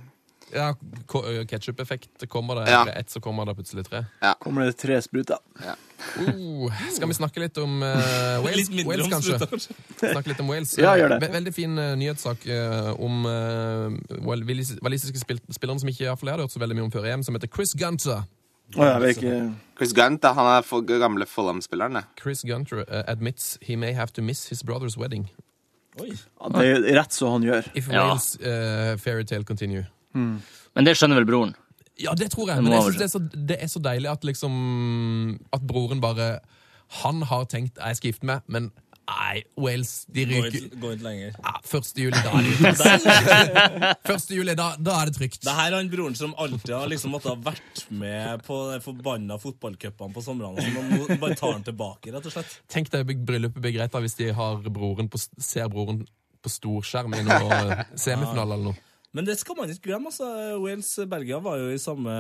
[SPEAKER 3] Ja, ko- eh, Ketchup-effekt. Kommer det
[SPEAKER 7] Ja.
[SPEAKER 3] ett, så kommer det plutselig tre.
[SPEAKER 6] Kommer det tre spruter?
[SPEAKER 3] Oh, skal vi snakke litt om eh, Wales,
[SPEAKER 4] Litt mindre
[SPEAKER 3] Wales
[SPEAKER 4] om
[SPEAKER 3] kanskje?
[SPEAKER 4] sprutt, kanskje.
[SPEAKER 3] Snakke litt om Wales.
[SPEAKER 6] Ja, gjør det.
[SPEAKER 3] Ve- Veldig fin eh, nyhetssak eh, om eh, val- walis- walisiske spil spillere som ikke i hvert fall jeg hadde hørt så veldig mye om før EM, som heter Chris Gunter.
[SPEAKER 6] Å, jeg vet ikke.
[SPEAKER 7] Chris Gunt, da, han er for, gamle Follum-spilleren, det.
[SPEAKER 3] Chris Gunter eh, admits he may have to miss his brother's wedding
[SPEAKER 4] Oi.
[SPEAKER 6] Ja, Det er jo rett så han gjør.
[SPEAKER 3] if
[SPEAKER 8] Ja.
[SPEAKER 3] Wales eh, fairytale continue.
[SPEAKER 8] Men det skjønner vel broren.
[SPEAKER 3] Ja, det tror jeg.
[SPEAKER 8] Det
[SPEAKER 3] Men
[SPEAKER 8] må
[SPEAKER 3] jeg synes det, er så, det er så deilig at liksom At broren bare Han har tenkt jeg skal gifte meg, men nei, Wales, de
[SPEAKER 4] Gå
[SPEAKER 3] ryker
[SPEAKER 4] ut, gå ut lenger.
[SPEAKER 3] Ja, 1. juli, da er det ute. ass. 1. juli, da, da er det trygt.
[SPEAKER 4] Det her er han broren som alltid har liksom måttet ha vært med på de forbanna fotballcupene på somrene. og Nå bare tar han tilbake, rett og slett.
[SPEAKER 3] Tenk deg be- bryllupet blir greit da hvis de har broren på, s- ser broren på storskjerm i noe eh, semifinale eller noe.
[SPEAKER 4] Men det skal man ikke glemme. altså. Wales-Belgia var jo i samme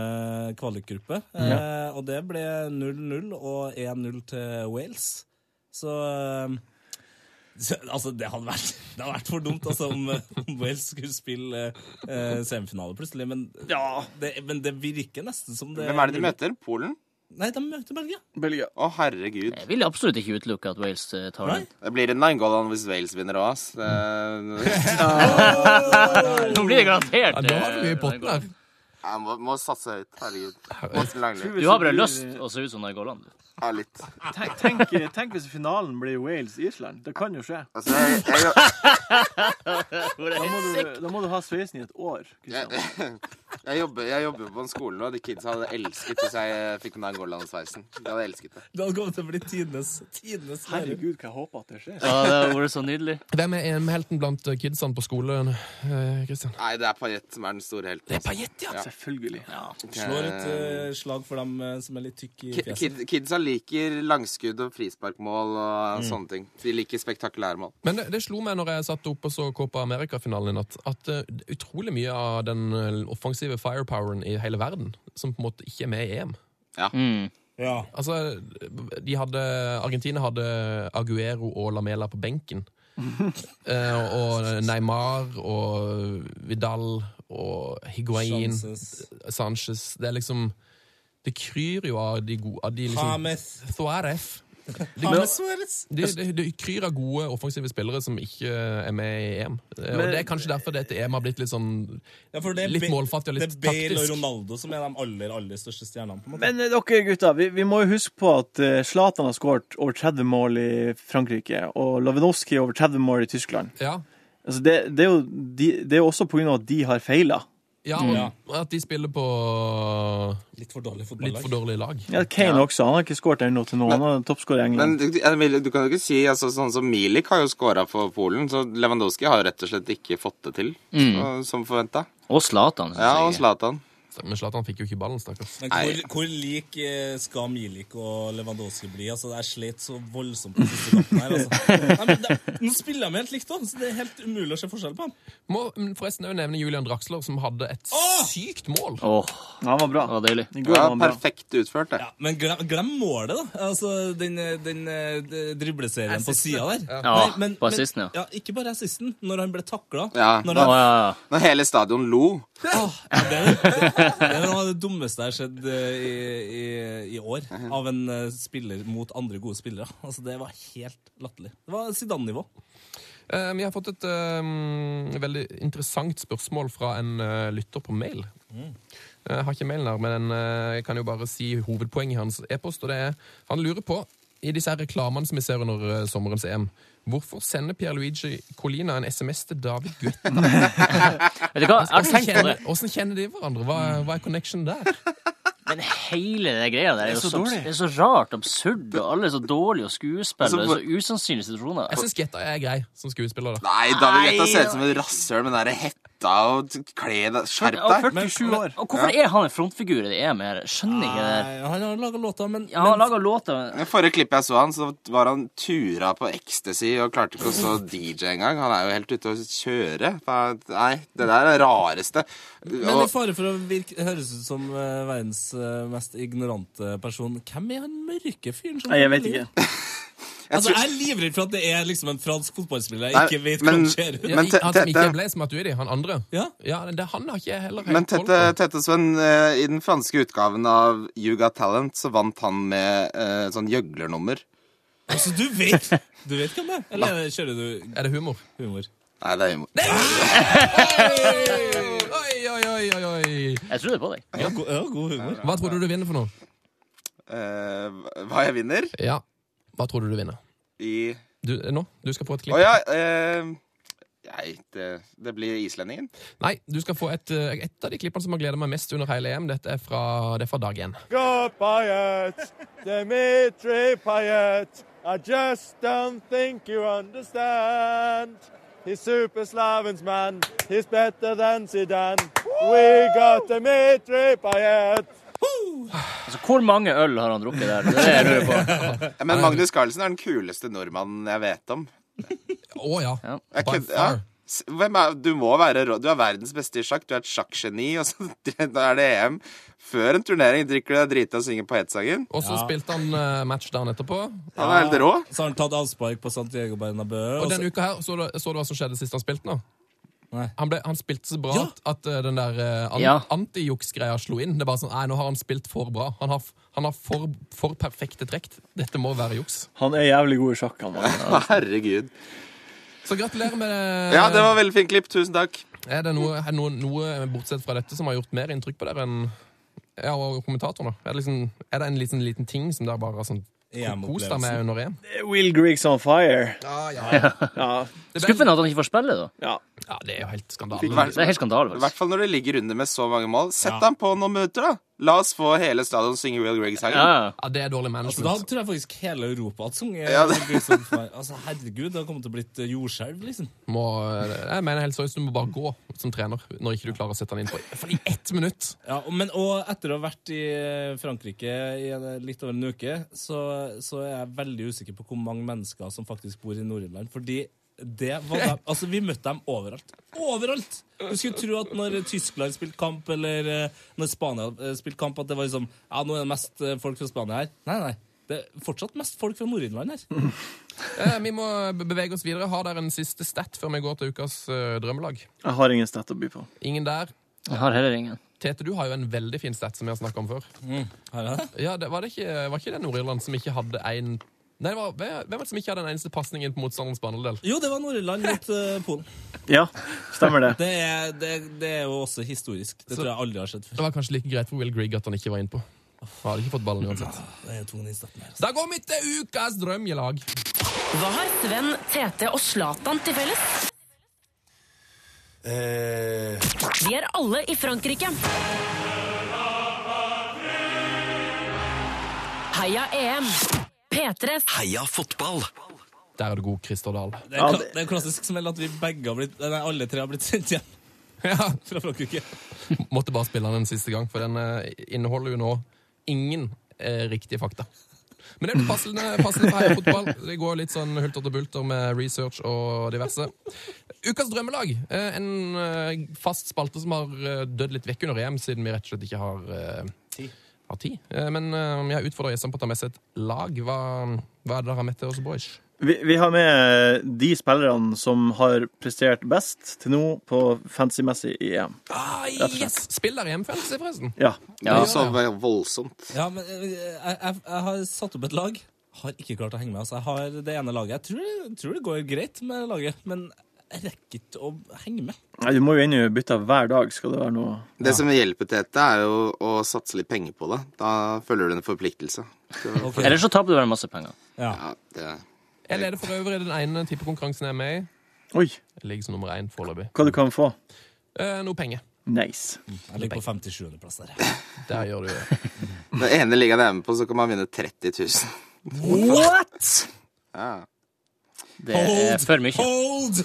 [SPEAKER 4] kvalikgruppe. Eh, og det ble 0-0 og 1-0 til Wales. Så eh, så, Altså, det hadde vært, det hadde vært for dumt altså, om, eh, om Wales skulle spille eh, eh, semifinale plutselig. Men, det, men det virker nesten som det
[SPEAKER 7] Hvem er det de møter? Polen?
[SPEAKER 4] Nei, de møter Belgia.
[SPEAKER 6] Belgia.
[SPEAKER 7] Å, herregud.
[SPEAKER 8] Jeg vil absolutt ikke utelukke at Wales eh, tar
[SPEAKER 4] Nei.
[SPEAKER 8] den.
[SPEAKER 7] Det blir en Nangolan hvis Wales vinner òg, ass. Det-
[SPEAKER 8] Nå blir det garantert.
[SPEAKER 3] Ja, nå har du mye i
[SPEAKER 8] eh,
[SPEAKER 3] potten her.
[SPEAKER 7] Jeg må, må satse høyt. Herregud. Morten Langli.
[SPEAKER 8] Du har bare lyst å se ut som Nargoland.
[SPEAKER 7] Ja, litt.
[SPEAKER 6] Tenk, tenk, tenk hvis finalen blir Wales-Island. Det kan jo skje.
[SPEAKER 7] Altså, jeg, jeg,
[SPEAKER 6] Da må du, da må du ha sveisen i et år. Kristian.
[SPEAKER 7] jeg, Jeg jobber, jeg jobber jo på en skole nå. De kidsa hadde elsket hvis jeg eh, fikk den Angola-sveisen. De hadde elsket det.
[SPEAKER 4] Det hadde kommet til å bli tidenes tidenes lærer.
[SPEAKER 6] Herregud, hva jeg håper at det skjer.
[SPEAKER 8] Ja, det har vært så nydelig.
[SPEAKER 3] Hvem er EM-helten blant eh, kidsene på skolen, eh, Christian?
[SPEAKER 7] Nei, det er Pajett som er den store helten.
[SPEAKER 3] Paillette, ja.
[SPEAKER 6] Selvfølgelig.
[SPEAKER 4] Slår et eh, slag for dem eh, som er litt tykke i
[SPEAKER 7] Ki-
[SPEAKER 4] fjeset.
[SPEAKER 7] Kid, kidsa liker langskudd og frisparkmål og sånne ting. De liker spektakulære mål.
[SPEAKER 3] Men det, det slo meg når jeg satt oppe og så Copa America-finalen i natt, at eh, utrolig mye av den eh, offensive firepoweren i hele verden som på en måte ikke er med i EM.
[SPEAKER 4] Ja.
[SPEAKER 3] Altså, de hadde, Argentina hadde Aguero og Lamela på benken. Eh, og Neymar og Vidal og Higuain,
[SPEAKER 4] Chances.
[SPEAKER 3] Sanchez Det er liksom Det kryr jo av de gode av de liksom,
[SPEAKER 4] James.
[SPEAKER 3] Suárez.
[SPEAKER 4] James Suarez.
[SPEAKER 3] Det, det, det kryr av gode offensive spillere som ikke er med i EM. Eh, og
[SPEAKER 6] Men-
[SPEAKER 3] Det er kanskje derfor dette EM har blitt litt sånn
[SPEAKER 4] Ja, for det er
[SPEAKER 3] Litt
[SPEAKER 4] Ba-
[SPEAKER 3] målfattig og litt
[SPEAKER 4] Det er Bale og
[SPEAKER 3] taktisk.
[SPEAKER 4] Ronaldo som er de aller, aller største stjernene. på en måte.
[SPEAKER 6] Men eh, dere gutta, vi, vi må jo huske på at eh, Zlatan har skåret over 30 mål i Frankrike, og Lavinowski over 30 mål i Tyskland.
[SPEAKER 3] Ja.
[SPEAKER 6] Altså, det, det, er jo, de, det er jo også på grunn av at de har feila.
[SPEAKER 3] ja og at de spiller på
[SPEAKER 4] Litt for dårlig
[SPEAKER 3] litt for
[SPEAKER 4] fotballag.
[SPEAKER 3] dårlige lag.
[SPEAKER 6] Ja, Kane også. Han har ikke skåret ennå til nå. Han er toppskårer i
[SPEAKER 7] Men
[SPEAKER 6] England.
[SPEAKER 7] du, jeg vil, du kan jo ikke si altså, Sånn som Milik har jo skåra for Polen, så Lewandowski har jo rett og slett ikke fått det til så- som forventa.
[SPEAKER 8] Og Zlatan, synes
[SPEAKER 7] Ja, og
[SPEAKER 8] jeg.
[SPEAKER 7] Zlatan.
[SPEAKER 3] Men Zlatan fikk jo ikke ballen, stakkars.
[SPEAKER 4] Men hvor, hvor lik eh, skal Milik og Lewandowski bli? Altså, Jeg slet så voldsomt på siste kampen her. altså. Nei, men det, nå spiller de helt likt, da, så det er helt umulig å se forskjell på dem.
[SPEAKER 3] Må mm, forresten òg nevne Julian Draxler, som hadde et sykt mål.
[SPEAKER 8] Åh,
[SPEAKER 6] Ja, han var bra.
[SPEAKER 8] det var deilig.
[SPEAKER 6] I går var
[SPEAKER 7] Ja,
[SPEAKER 6] han bra.
[SPEAKER 7] perfekt utført, det.
[SPEAKER 4] Ja, men glem, glem målet, da. Altså, Den, eh, den eh, d- dribleserien på sida der.
[SPEAKER 8] Ja, på assisten, ja.
[SPEAKER 4] ja. Ikke bare assisten. Når han ble takla.
[SPEAKER 7] Ja.
[SPEAKER 4] Når
[SPEAKER 8] Å,
[SPEAKER 4] han,
[SPEAKER 8] ja, ja.
[SPEAKER 7] Når hele stadion lo.
[SPEAKER 4] Åh, ja, det, er, det, er noe av det dummeste jeg har sett eh, i, i, i år. Av en eh, spiller mot andre gode spillere. Altså, Det var helt latterlig. Det var Zidane-nivå.
[SPEAKER 3] Eh, Vi har fått et eh, veldig interessant spørsmål fra en eh, lytter på mail.
[SPEAKER 8] Mm.
[SPEAKER 3] Jeg har ikke mailen her, men eh, jeg kan jo bare si hovedpoenget i hans e-post. og det er, Han lurer på, i disse her reklamene som vi ser under eh, sommerens EM, hvorfor sender Pierluigi Colina en SMS til David Guetta?
[SPEAKER 8] Vet du hva, jeg har
[SPEAKER 3] Hvordan
[SPEAKER 8] tenkt på det.
[SPEAKER 3] kjenner, hvordan kjenner de hverandre? Hva, er- hva er connection der?
[SPEAKER 8] Men hele det greia der er jo
[SPEAKER 6] så
[SPEAKER 8] så, abs-
[SPEAKER 6] dårlig.
[SPEAKER 8] det er så rart absurd, og alle er så dårlige, og skuespill, og det er
[SPEAKER 7] hvor-
[SPEAKER 8] så usannsynlige situasjoner.
[SPEAKER 3] Jeg syns Guetta er grei som skuespiller. da.
[SPEAKER 7] Nei, David
[SPEAKER 8] Nei,
[SPEAKER 7] Guetta ser ut som et rasshøl med den der hetta og t- kle deg Skjerp
[SPEAKER 8] Og
[SPEAKER 7] deg!
[SPEAKER 6] 47 år.
[SPEAKER 8] Og hvorfor er han en frontfigur i det EM her? Jeg Skjønner ikke det der.
[SPEAKER 4] Nei, Han har laga låter, men,
[SPEAKER 8] Eh. Ja, han
[SPEAKER 4] men
[SPEAKER 8] lager låter, men
[SPEAKER 7] I forrige klipp jeg så han, så var han tura på ecstasy og klarte ikke å stå DJ engang. Han er jo helt ute å kjøre. Nei, det der er det rareste.
[SPEAKER 4] men i
[SPEAKER 7] Og,
[SPEAKER 4] fare for å virke, høres ut som eh, verdens eh, mest ignorante person Hvem er han mørke fyren? som-
[SPEAKER 6] Nei, jeg vet ikke.
[SPEAKER 4] Altså, jeg er livredd for at det er liksom en fransk fotballspiller jeg
[SPEAKER 7] Nei,
[SPEAKER 4] ikke vet hva
[SPEAKER 7] men-
[SPEAKER 4] han ser ut.
[SPEAKER 3] Ja,
[SPEAKER 7] Men
[SPEAKER 3] i-
[SPEAKER 7] te-
[SPEAKER 3] han som ikke
[SPEAKER 7] Tete-
[SPEAKER 3] er Blaise Matuidi, han andre.
[SPEAKER 4] Ja.
[SPEAKER 3] det, Han har ikke jeg heller
[SPEAKER 7] men
[SPEAKER 3] helt koll på.
[SPEAKER 7] Tette, Tette Sven, eh, i den franske utgaven av You Got Talent så vant han med eh, sånn gjøglernummer.
[SPEAKER 4] Altså, du vet Du vet hvem det er? Eller kjører du
[SPEAKER 3] Er det humor?
[SPEAKER 4] humor?
[SPEAKER 7] Nei, det er humor.
[SPEAKER 3] Oi, oi, oi, oi, oi.
[SPEAKER 8] jeg trodde på deg.
[SPEAKER 4] Ja, god, ja, god humor.
[SPEAKER 3] Hva tror du du vinner for noe?
[SPEAKER 7] Eh, hva jeg vinner
[SPEAKER 3] Ja, hva tror du du vinner?
[SPEAKER 7] i
[SPEAKER 3] Du, nå, du skal få et
[SPEAKER 7] Å
[SPEAKER 3] klipp.
[SPEAKER 7] ja. Eh, nei, det, det blir islendingen.
[SPEAKER 3] Nei, du skal få et, eh, et av de klippene som har gleda meg mest under hele EM. Dette er fra, det er fra dag én.
[SPEAKER 9] Go Payet, Dimitri Payet. I just don't think you understand. He's Super Slavens man. He's better than Zidane. We got Dimitri Payet.
[SPEAKER 8] Altså, hvor mange øl har han drukket der? Det er det jeg lurer på.
[SPEAKER 7] Men Magnus Carlsen er den kuleste nordmannen jeg vet om.
[SPEAKER 3] Å ja.
[SPEAKER 8] Ja.
[SPEAKER 7] Jeg
[SPEAKER 3] By
[SPEAKER 7] kødder- ja.
[SPEAKER 3] far.
[SPEAKER 7] S- Hvem er, du må være rå. Du er verdens beste i sjakk. Du er et sjakkgeni, og så da er det EM. Før en turnering drikker du deg drita og synger paettsangen.
[SPEAKER 3] Og så spilte han eh, match dagen etterpå.
[SPEAKER 7] Han er helt rå.
[SPEAKER 4] Så har han tatt avspark på Santiago Bernabeu.
[SPEAKER 3] Og
[SPEAKER 4] og så-
[SPEAKER 3] denne uka her, så du, så du hva som skjedde sist han spilte nå?
[SPEAKER 4] Nei.
[SPEAKER 3] Han, ble, han spilte så bra
[SPEAKER 4] Ja.
[SPEAKER 3] at, at eh, den der eh, an,
[SPEAKER 8] Ja.
[SPEAKER 3] antijuks-greia slo inn. Det er bare sånn, nei, Nå har han spilt for bra. Han har, f- han har for, for perfekte trekk. Dette må være juks.
[SPEAKER 6] Han er jævlig god i sjakk, han. altså. mann.
[SPEAKER 7] Herregud.
[SPEAKER 3] Så gratulerer med det.
[SPEAKER 7] Ja, det var veldig fint klipp. Tusen takk.
[SPEAKER 3] Er det noe, er noe, noe bortsett fra dette som har gjort mer inntrykk på dere enn ja, og kommentatoren? da? Er det, liksom, er det en liten, liten liksom ting som dere bare har sånn Kos deg med under EM.
[SPEAKER 6] Will Griggs on fire.
[SPEAKER 3] ja.
[SPEAKER 6] Ja.
[SPEAKER 8] Skuffende at han ikke får spille, da.
[SPEAKER 6] ja.
[SPEAKER 3] ja, det er jo helt skandale.
[SPEAKER 8] Det er helt skandale,
[SPEAKER 7] I
[SPEAKER 8] faktisk.
[SPEAKER 7] hvert fall når det ligger under med så mange mål. Sett ham på noen minutter, da! La oss få hele stadion synge Will Griggs-sangen.
[SPEAKER 8] Ja, ja.
[SPEAKER 3] Ja, det er dårlig
[SPEAKER 4] Altså, da
[SPEAKER 3] management.
[SPEAKER 4] tror jeg faktisk hele Europa hadde sunget.
[SPEAKER 7] Ja, det-
[SPEAKER 4] altså, herregud, det hadde kommet til å blitt eh, jordskjelv, liksom.
[SPEAKER 3] Må, jeg mener helt seriøst, du må bare gå som trener når ikke du klarer å sette han inn på i hvert fall i ett minutt.
[SPEAKER 4] Ja, og- men, og etter å ha vært i eh, Frankrike i en- eh, litt over en uke, så, så er jeg veldig usikker på hvor mange mennesker som faktisk bor i Nord-Irland. Fordi det var dem, altså vi møtte dem overalt. Overalt! Du skulle tro at når Tyskland spilte kamp, eller eh, når Spania eh, spilte kamp, at det var liksom Ja, nå er det mest eh, folk fra Spania her. Nei, nei. Det er fortsatt mest folk fra Nord-Irland her.
[SPEAKER 3] Eh, vi må be- bevege oss videre. Har dere en siste stat før vi går til ukas eh, drømmelag?
[SPEAKER 6] Jeg har ingen stat å by på.
[SPEAKER 3] Ingen der.
[SPEAKER 8] Jeg har heller ingen.
[SPEAKER 3] Tete, du har jo en veldig fin stat som vi har snakka om før.
[SPEAKER 4] Her er det.
[SPEAKER 3] Ja, det, var, det ikke, var ikke det Nord-Irland som ikke hadde en Nei, det var, hvem var det som ikke hadde en eneste pasningen på motstanderens banedel?
[SPEAKER 4] Jo, det var Nord-Irland mot eh, Polen.
[SPEAKER 6] Ja, stemmer det.
[SPEAKER 4] Det er, det, det er jo også historisk. Det tror jeg aldri har skjedd før.
[SPEAKER 3] Det var kanskje like greit for Will Grigg at han ikke var innpå. Han hadde ikke fått ballen uansett.
[SPEAKER 4] Det er tvungen altså. innsatt med.
[SPEAKER 3] Da går vi til ukas drømmelag.
[SPEAKER 2] Hva har Sven, Tete og Zlatan til felles? De er alle i Frankrike. Heia E EM. P3
[SPEAKER 1] Heia fotball!
[SPEAKER 3] Der er du god, Christer Dahl.
[SPEAKER 4] Det er,
[SPEAKER 6] Ja,
[SPEAKER 4] kla-
[SPEAKER 6] det-
[SPEAKER 4] det er en klassisk smell at vi begge har blitt, nei, alle tre har blitt sendt hjem
[SPEAKER 3] Ja,
[SPEAKER 4] fra Frankrike.
[SPEAKER 3] måtte bare spille den en siste gang, for den eh, inneholder jo nå ingen eh, riktige fakta. Men det er jo passende, passende for heia fotball. Det går litt sånn hulter til bulter med research og diverse. Ukas drømmelag. eh, En eh, fast spalte som har eh, dødd litt vekk under EM, siden vi rett og slett ikke har eh, har tid. Eh, Men eh, jeg utfordrer gjestene på å ta med seg et lag. Hva, hva er det dere har med til oss, boys?
[SPEAKER 6] Vi, vi har med eh, de spillerne som har prestert best til nå på fancy-messig i EM.
[SPEAKER 3] Ah, yes! Spiller EM Fantasy, forresten.
[SPEAKER 6] Ja.
[SPEAKER 7] Ja, så voldsomt.
[SPEAKER 4] Ja, men eh, jeg, jeg, jeg har satt opp et lag. Har ikke klart å henge med. Altså, jeg har det ene laget. Jeg tror, jeg tror det går greit med laget, men jeg rekker ikke å henge med.
[SPEAKER 6] Nei, Du må jo ennå bytte hver dag, skal det være noe
[SPEAKER 7] Det som hjelper til dette, er jo å satse litt penger på det. Da føler du en forpliktelse. Så,
[SPEAKER 4] Ok.
[SPEAKER 8] Ellers så taper du bare masse penger.
[SPEAKER 7] ja, det...
[SPEAKER 3] Jeg leder for øvrig den ene tippekonkurransen jeg er med i.
[SPEAKER 6] Oi,
[SPEAKER 3] Jeg ligger som nummer én foreløpig.
[SPEAKER 6] hva du kan få.
[SPEAKER 3] Eh, noe penger.
[SPEAKER 6] Nice.
[SPEAKER 4] Jeg ligger på 57. plass der.
[SPEAKER 3] Der gjør du det.
[SPEAKER 7] Den ene ligaen jeg er med på, så kan man vinne 30 000. What?! Ja,
[SPEAKER 8] Det er for mye.
[SPEAKER 4] Hold!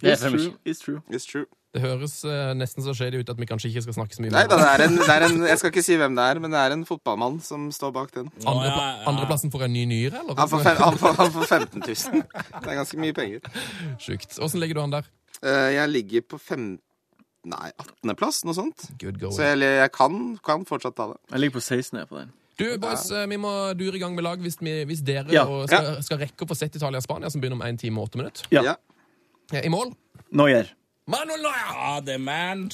[SPEAKER 8] Det er for mye.
[SPEAKER 6] It's true.
[SPEAKER 7] it's true.
[SPEAKER 3] Det høres eh, nesten så shady ut at vi kanskje ikke skal snakke så mye
[SPEAKER 7] Nei da,
[SPEAKER 3] det.
[SPEAKER 7] det er, en, det er en Jeg skal ikke si hvem det er, men det er en fotballmann som står bak den.
[SPEAKER 4] Å, ja, ja.
[SPEAKER 3] Andrepla andreplassen for en ny nyre, eller?
[SPEAKER 7] Han får, fem, han, får, han får 15 000. Det er ganske mye penger.
[SPEAKER 3] Sjukt. Åssen ligger du an der?
[SPEAKER 7] Eh, Jeg ligger på fem... Nei, 18.-plass, noe sånt.
[SPEAKER 3] Good going.
[SPEAKER 7] Så jeg, jeg kan, kan fortsatt ta det.
[SPEAKER 6] Jeg ligger på 16 jeg, på den.
[SPEAKER 3] Du, boys, eh, vi må dure i gang med lag hvis, vi, hvis dere
[SPEAKER 6] Ja.
[SPEAKER 3] og skal, skal rekke å få sett Italia og Spania, som begynner om 1 time og 8 minutter.
[SPEAKER 6] Ja.
[SPEAKER 7] Ja.
[SPEAKER 3] Eh, I mål
[SPEAKER 6] Noyer.
[SPEAKER 3] Manuel Neuer!
[SPEAKER 4] Ja, det er man.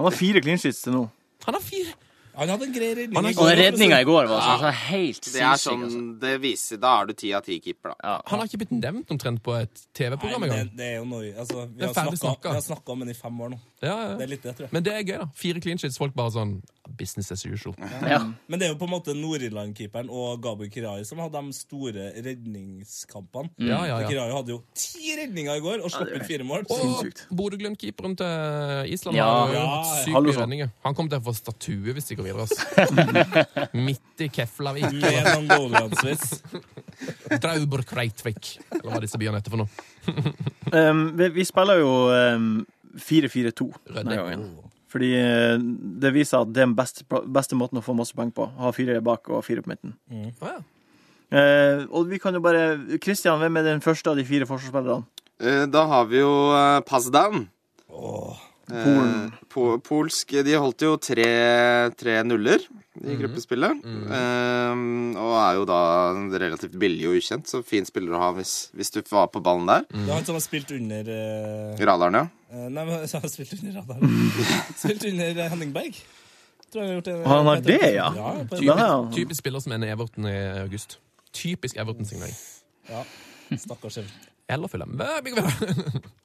[SPEAKER 6] Han har fire clean sheets til nå.
[SPEAKER 3] Han har fire
[SPEAKER 4] Han hadde en grei redning.
[SPEAKER 3] Han er-
[SPEAKER 4] i
[SPEAKER 8] Og
[SPEAKER 4] går,
[SPEAKER 8] den redninga
[SPEAKER 4] altså.
[SPEAKER 8] i går var altså, altså, helt
[SPEAKER 7] Det er
[SPEAKER 8] sinnssyk.
[SPEAKER 7] sånn
[SPEAKER 8] Altså.
[SPEAKER 7] Det viser Da er du ti av ti keeper, da.
[SPEAKER 3] Han har ikke blitt nevnt omtrent på et TV-program
[SPEAKER 4] Nei, det,
[SPEAKER 3] engang.
[SPEAKER 4] det er jo noe altså, Vi
[SPEAKER 3] er
[SPEAKER 4] har
[SPEAKER 3] ferdig
[SPEAKER 4] snakket-
[SPEAKER 3] snakka.
[SPEAKER 4] vi har snakka om den i fem år nå.
[SPEAKER 3] Ja,
[SPEAKER 4] Det er
[SPEAKER 3] ja.
[SPEAKER 4] litt det, tror jeg.
[SPEAKER 3] Men det er gøy, da. Fire clean sheets. Folk bare sånn Business as usual.
[SPEAKER 8] Ja.
[SPEAKER 4] Men det er jo på en måte Nord-Irland-keeperen og Gabor Kirayi som hadde de store redningskampene.
[SPEAKER 3] Mm. Ja, ja, ja.
[SPEAKER 4] For Kirayi hadde jo ti redninger i går og slapp ut fire mål.
[SPEAKER 3] Og
[SPEAKER 6] Sinnssykt.
[SPEAKER 3] Bodø-Glimt-keeperen til Island
[SPEAKER 8] Ja.
[SPEAKER 3] har jo
[SPEAKER 4] Ja,
[SPEAKER 3] hatt
[SPEAKER 4] ja.
[SPEAKER 3] sykt mye
[SPEAKER 6] Hallorsson.
[SPEAKER 3] redninger. Han kommer til å få statue hvis de går videre. Altså. Midt i Keflavik.
[SPEAKER 4] Med
[SPEAKER 3] eller
[SPEAKER 4] Angola-sveis.
[SPEAKER 3] Draubur Kreitvik, eller hva disse byene heter for noe.
[SPEAKER 6] Um, vi, vi spiller jo um, 4-4-2
[SPEAKER 3] Rødde.
[SPEAKER 6] denne gangen. Fordi eh, det viser at det er den beste, beste måten å få masse poeng på. Ha fire bak og fire på midten.
[SPEAKER 3] Å, ja.
[SPEAKER 6] Eh, og vi kan jo bare Kristian, hvem er den første av de fire forsvarsspillerne?
[SPEAKER 7] Eh, Da har vi jo eh, Pazdan.
[SPEAKER 6] Polen.
[SPEAKER 7] Eh, Po polsk De holdt jo tre, tre nuller i gruppespillet. Eh, og er jo da relativt billig og ukjent, så fin spiller å ha hvis, hvis du var på ballen der.
[SPEAKER 3] Mm.
[SPEAKER 4] Det er han som har spilt under eh,
[SPEAKER 7] Radaren, ja.
[SPEAKER 4] eh, Nei, men han har spilt under
[SPEAKER 6] Mm.
[SPEAKER 4] radaren. Spilt under eh, Henning Berg. Tror han har gjort det.
[SPEAKER 6] Han har det, ja?
[SPEAKER 4] ja på en-
[SPEAKER 6] Da er han-
[SPEAKER 3] Typisk spiller som en Everton i august. Typisk Everton-signering.
[SPEAKER 4] ja. Stakkars Even.
[SPEAKER 3] Eller Fulham. Hva- vi går videre.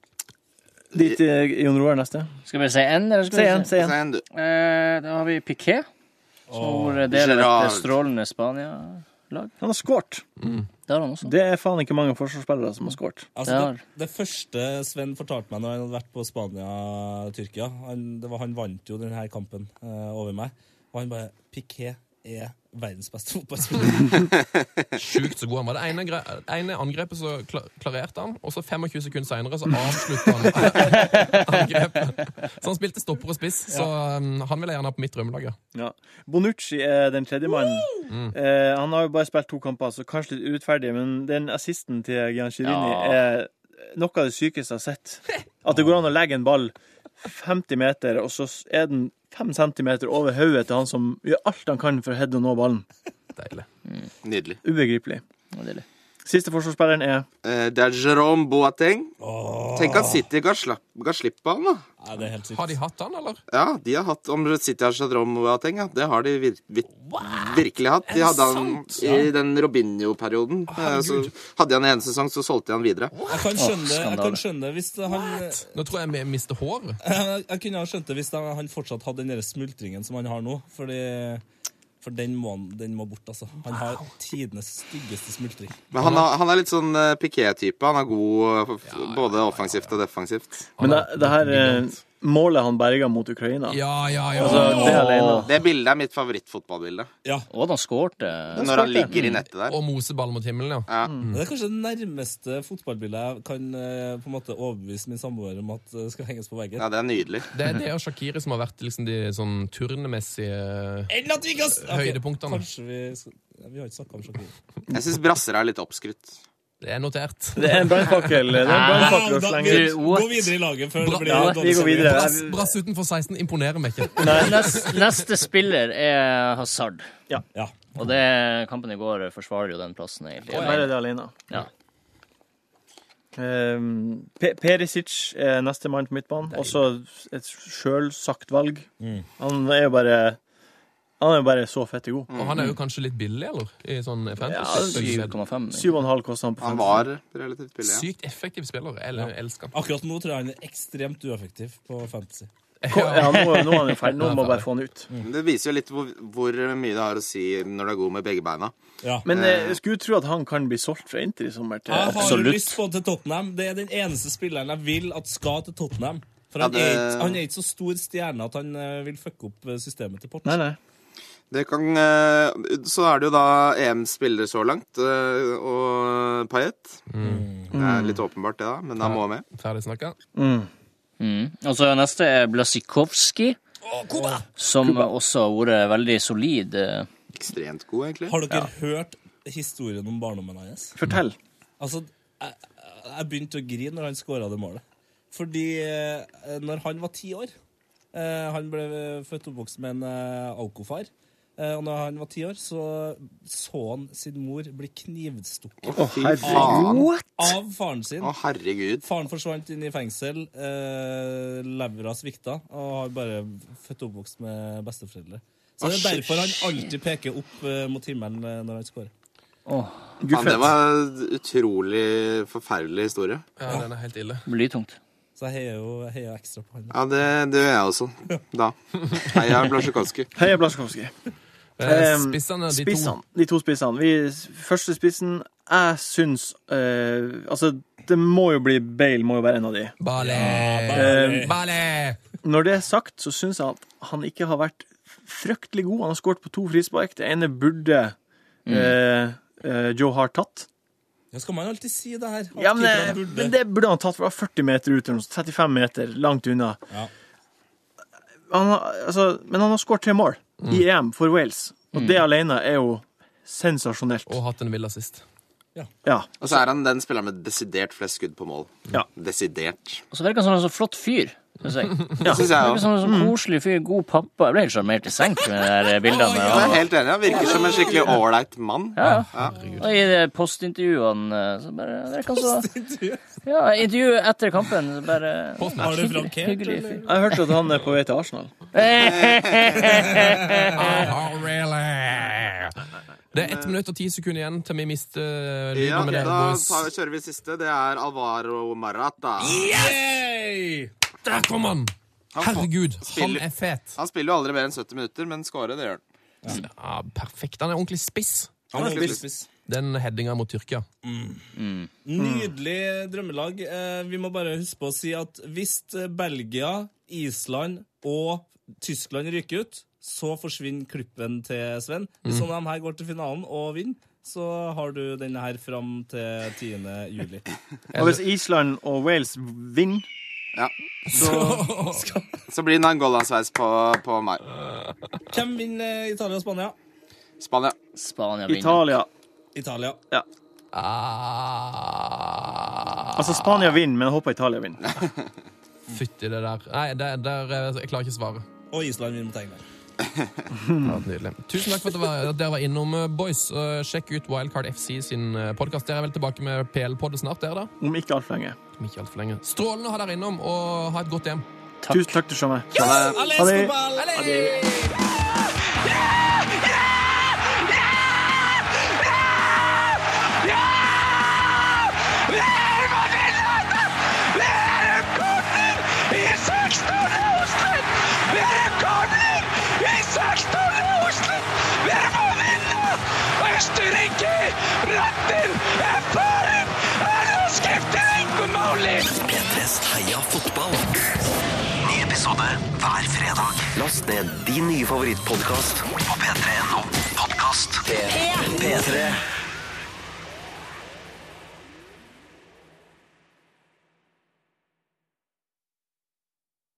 [SPEAKER 6] Dit eh, Jon Roar neste.
[SPEAKER 8] Skal vi si N, eller skal
[SPEAKER 6] Si
[SPEAKER 8] vi
[SPEAKER 6] igjen,
[SPEAKER 8] si
[SPEAKER 6] si igjen.
[SPEAKER 7] Sen, du.
[SPEAKER 8] Eh, Da har vi Piquet, som har vært del av
[SPEAKER 7] Gerard.
[SPEAKER 8] dette strålende Spania. lag.
[SPEAKER 6] Han har skåret.
[SPEAKER 8] Det har han også.
[SPEAKER 6] Det er faen ikke mange forsvarsspillere som har skåret.
[SPEAKER 4] Altså,
[SPEAKER 8] Ja.
[SPEAKER 4] det, det første Sven fortalte meg når han hadde vært på Spania-Tyrkia han, det var, han vant jo denne kampen eh, over meg. Og han bare Piquet er verdens beste fotballspiller.
[SPEAKER 3] Sjukt så god han var. Det ene, gre- ene angrepet så kla- klarerte han, og så 25 sekunder seinere så avslutta han angrepet. Så han spilte stopper og spiss, så um, han ville jeg gjerne ha på mitt drømmelag. ja.
[SPEAKER 6] Ja. Bonucci er den tredje mannen. Eh, han har jo bare spilt to kamper, så kanskje litt urettferdig, men den assisten til Gianchirini
[SPEAKER 8] Ja.
[SPEAKER 6] er noe av det sykeste jeg har sett. At det går an å legge en ball 50 meter, og så er den 5 centimeter over hodet til han som gjør alt han kan for å heade og nå ballen.
[SPEAKER 3] Deilig.
[SPEAKER 7] Nydelig.
[SPEAKER 6] Ubegripelig.
[SPEAKER 8] Det var deilig.
[SPEAKER 6] Siste forsvarsspilleren er
[SPEAKER 7] Eh, Det er Jerome Boateng. Tenk at City ga, slapp, ga slipp på han, da.
[SPEAKER 4] Nei, det er helt sykt.
[SPEAKER 3] Har de hatt han, eller?
[SPEAKER 7] Ja, de har hatt Om City har Jerome Boateng, ja. Det har de vir vir virkelig hatt. De hadde han i den Robinho-perioden. Eh, Så hadde han en sesong, så solgte de han videre.
[SPEAKER 4] Jeg kan skjønne det, jeg
[SPEAKER 8] skandale.
[SPEAKER 4] kan skjønne det hvis det, han
[SPEAKER 3] Nå tror jeg vi mister hår.
[SPEAKER 4] jeg, jeg kunne ha skjønt det hvis det, han fortsatt hadde den der smultringen som han har nå. Fordi, for den må, han- den må bort, altså. Han har tidenes styggeste smultring.
[SPEAKER 7] Men han, har, han er litt sånn eh, Piquet-type. Han er god eh, f- både offensivt og defensivt.
[SPEAKER 6] Men det, det her eh, målet han berga mot Ukraina
[SPEAKER 3] Ja, ja, ja.
[SPEAKER 6] altså, Det alene.
[SPEAKER 7] Det bildet er mitt favorittfotballbilde.
[SPEAKER 8] Og da skårte
[SPEAKER 7] Når han ligger i nettet der.
[SPEAKER 3] Og moseball mot himmelen, ja.
[SPEAKER 4] Det er kanskje det nærmeste fotballbildet jeg kan eh, på en måte overbevise min samboer om at eh, skal henges på veggen.
[SPEAKER 7] Ja, det er nydelig.
[SPEAKER 3] Det er det og Shakiri som har vært liksom, de sånn turnemessige
[SPEAKER 4] Eller at vi ikke har s- Ok,
[SPEAKER 3] Høydepunktene.
[SPEAKER 4] Kanskje vi skal... ja, Vi har ikke snakka om Shakir.
[SPEAKER 7] Jeg syns brasser er litt oppskrytt.
[SPEAKER 3] Det er notert.
[SPEAKER 6] Det er en brannfakkel. Det er en brannfakkel å slenge ut.
[SPEAKER 8] What?
[SPEAKER 4] Gå videre i laget før
[SPEAKER 3] Bra-
[SPEAKER 4] det blir
[SPEAKER 6] Ja,
[SPEAKER 4] dårlig
[SPEAKER 6] vi går
[SPEAKER 4] stemning.
[SPEAKER 6] videre.
[SPEAKER 3] Brass, brass utenfor 16 imponerer meg ikke.
[SPEAKER 8] Neste, neste spiller er Hazard.
[SPEAKER 4] Ja.
[SPEAKER 8] Og det, kampen i går forsvarer jo den plassen, egentlig.
[SPEAKER 6] Bare det alene.
[SPEAKER 8] Ja.
[SPEAKER 6] Um, Pe- Perisic er neste mann på midtbanen. Også et sjølsagt valg. Han er jo bare Han er jo bare så fette god.
[SPEAKER 3] Og han er jo kanskje litt billig, eller? I sånn fantasy.
[SPEAKER 8] 7,5.
[SPEAKER 6] 7,5 koster han på
[SPEAKER 7] Han
[SPEAKER 6] fem.
[SPEAKER 7] var relativt billig.
[SPEAKER 3] Sykt effektiv spiller. Eller elsker han.
[SPEAKER 4] Akkurat nå tror jeg han er ekstremt ueffektiv på fantasy.
[SPEAKER 6] Ja, nå, nå er han jo ferdig. Nå må man bare få han ut.
[SPEAKER 7] Ja. Det viser jo litt hvor, hvor mye det har å si når du er god med begge beina.
[SPEAKER 4] Ja.
[SPEAKER 6] Men eh, jeg skulle tro at han kan bli solgt fra Inter i sommer til
[SPEAKER 4] jeg har jo lyst på til Tottenham. Det er den eneste spilleren jeg vil at skal til Tottenham. For han,
[SPEAKER 7] Ja, det-
[SPEAKER 4] er, ikke, han er ikke så stor stjerne at han eh, vil fucke opp eh, systemet til Port.
[SPEAKER 6] Nei, nei.
[SPEAKER 7] Det kan, eh, så er det jo da EM-spiller så langt, eh, og Payet. Det er litt åpenbart, det, da, men han må med.
[SPEAKER 3] Ferdig snakka.
[SPEAKER 8] Mm. Og så neste er Blasikowski, som også har vært veldig solid. eh,
[SPEAKER 7] Ekstremt god, egentlig.
[SPEAKER 4] Har dere hørt historien om barndommen hans?
[SPEAKER 6] Fortell.
[SPEAKER 4] Altså, jeg, jeg begynte å grine når han skåra det målet. Fordi eh, når han var ti år eh, Han ble født og oppvokst med en eh, alkofar. Eh, og når han var ti år, så så han sin mor bli knivstukket
[SPEAKER 7] Å, fy faen!
[SPEAKER 4] av faren sin.
[SPEAKER 6] Ah.
[SPEAKER 7] Å, herregud.
[SPEAKER 4] Faren forsvant inn i fengsel. Eh, Levra svikta og har bare født og oppvokst med besteforeldre.
[SPEAKER 6] Ah,
[SPEAKER 4] Så det er derfor han alltid peker opp eh, mot himmelen eh, når han skårer.
[SPEAKER 7] Faen, det var en utrolig forferdelig historie.
[SPEAKER 3] Ja, den er helt ille.
[SPEAKER 8] Blytungt.
[SPEAKER 4] Så jeg heier jo heier ekstra på han.
[SPEAKER 7] Ja, det, det gjør jeg også. Da. Heia Blasjukanski.
[SPEAKER 6] Heia Blaskovskij.
[SPEAKER 3] Eh,
[SPEAKER 6] Ehm,
[SPEAKER 3] Spissene, de to.
[SPEAKER 6] Spissene. De to spissene. Vi, første spissen, jeg syns eh, Altså, det må jo bli Bale, må jo være en av de.
[SPEAKER 3] Bale!
[SPEAKER 6] Eh,
[SPEAKER 3] Bale!
[SPEAKER 6] Når det er sagt, så syns jeg at han ikke har vært fryktelig god. Han har skåret på to frispark. Det ene burde
[SPEAKER 3] Mm.
[SPEAKER 6] eh, eh, Joe Hart tatt.
[SPEAKER 4] Ja, skal man alltid si det her? At
[SPEAKER 6] Ja, men,
[SPEAKER 4] keeperne
[SPEAKER 6] det,
[SPEAKER 4] burde-
[SPEAKER 6] men det burde han tatt. for det var 40 meter ut, eller noe sånt. 35 meter, langt unna.
[SPEAKER 4] Ja.
[SPEAKER 6] Han har, altså, men han har skåret tre mål i
[SPEAKER 3] Mm.
[SPEAKER 6] EM for Wales, og det alene er jo sensasjonelt.
[SPEAKER 3] Og hatt en vill assist.
[SPEAKER 6] Ja.
[SPEAKER 7] Og så er han den spilleren med desidert flest skudd på mål.
[SPEAKER 6] Ja.
[SPEAKER 7] Desidert.
[SPEAKER 8] Og så virker han som en så flott fyr. Synes jeg.
[SPEAKER 7] Det syns jeg
[SPEAKER 8] Virker
[SPEAKER 7] òg.
[SPEAKER 8] som en så koselig fyr. God pappa. Jeg ble helt sjarmert i senk med de der bildene.
[SPEAKER 7] Jeg er
[SPEAKER 8] Og,
[SPEAKER 7] helt enig. Han virker som en skikkelig ålreit mann.
[SPEAKER 8] ja, ja. og i de postintervjuene eh, så bare det virker han så Ja, intervju etter kampen, så bare
[SPEAKER 4] Har du flankert?
[SPEAKER 8] Hyggelig fyr. Eh,
[SPEAKER 6] Jeg hørte at han er på vei til Arsenal.
[SPEAKER 3] Oh, really? Det er ett minutt og ti sekunder igjen til vi mister eh, lyden
[SPEAKER 7] Ja,
[SPEAKER 3] med
[SPEAKER 7] da
[SPEAKER 3] dere,
[SPEAKER 7] tar,
[SPEAKER 3] boys.
[SPEAKER 7] kjører vi siste. Det er Alvaro Marata.
[SPEAKER 3] Yay! Der kom han! Herregud, han
[SPEAKER 7] spiller-
[SPEAKER 3] er fet.
[SPEAKER 7] Han spiller jo aldri mer enn 70 minutter, men scorer, det gjør han.
[SPEAKER 3] Ja, perfekt. Han er ordentlig spiss.
[SPEAKER 7] Han
[SPEAKER 4] Han
[SPEAKER 7] var
[SPEAKER 4] var
[SPEAKER 7] spiss.
[SPEAKER 4] spiss.
[SPEAKER 3] Den headinga mot Tyrkia.
[SPEAKER 4] Mm. Nydelig drømmelag. Eh, Vi må bare huske på å si at hvis eh, Belgia, Island og Tyskland ryker ut, så forsvinner klippen til Sven. Hvis noen av dem her går til finalen og vinner, så har du denne her fram til 10. juli.
[SPEAKER 6] Og hvis Island og Wales vinner
[SPEAKER 7] Ja.
[SPEAKER 6] så
[SPEAKER 7] Så blir det en Angola-sveis på, på meg.
[SPEAKER 4] Hvem vinner eh, Italia og Spania?
[SPEAKER 7] Spania.
[SPEAKER 8] Spania vinner.
[SPEAKER 6] Italia
[SPEAKER 4] Italia.
[SPEAKER 6] ja.
[SPEAKER 3] Ah,
[SPEAKER 6] Altså, Spania vinner, men jeg håper Italia vinner.
[SPEAKER 3] Fytti det der. Nei, det, der, eh, jeg klarer ikke svaret.
[SPEAKER 4] Og Island vinner mot England.
[SPEAKER 3] Ja, nydelig. Tusen takk for at, det var, at dere var innom, eh, boys. Eh, Sjekk ut Wildcard FC sin podkast. Dere er vel tilbake med PL-poddet snart, dere da?
[SPEAKER 6] Om ikke altfor lenge.
[SPEAKER 3] Om ikke altfor lenge. Strålende å ha dere innom, og ha et godt hjem.
[SPEAKER 6] Tusen takk til Sjamme.
[SPEAKER 4] Alle
[SPEAKER 6] Ha det.
[SPEAKER 4] Escobar!
[SPEAKER 1] P3s Heia fotball. Ny episode hver fredag. Last ned din nye favorittpodkast på p3.no. Podkast P3.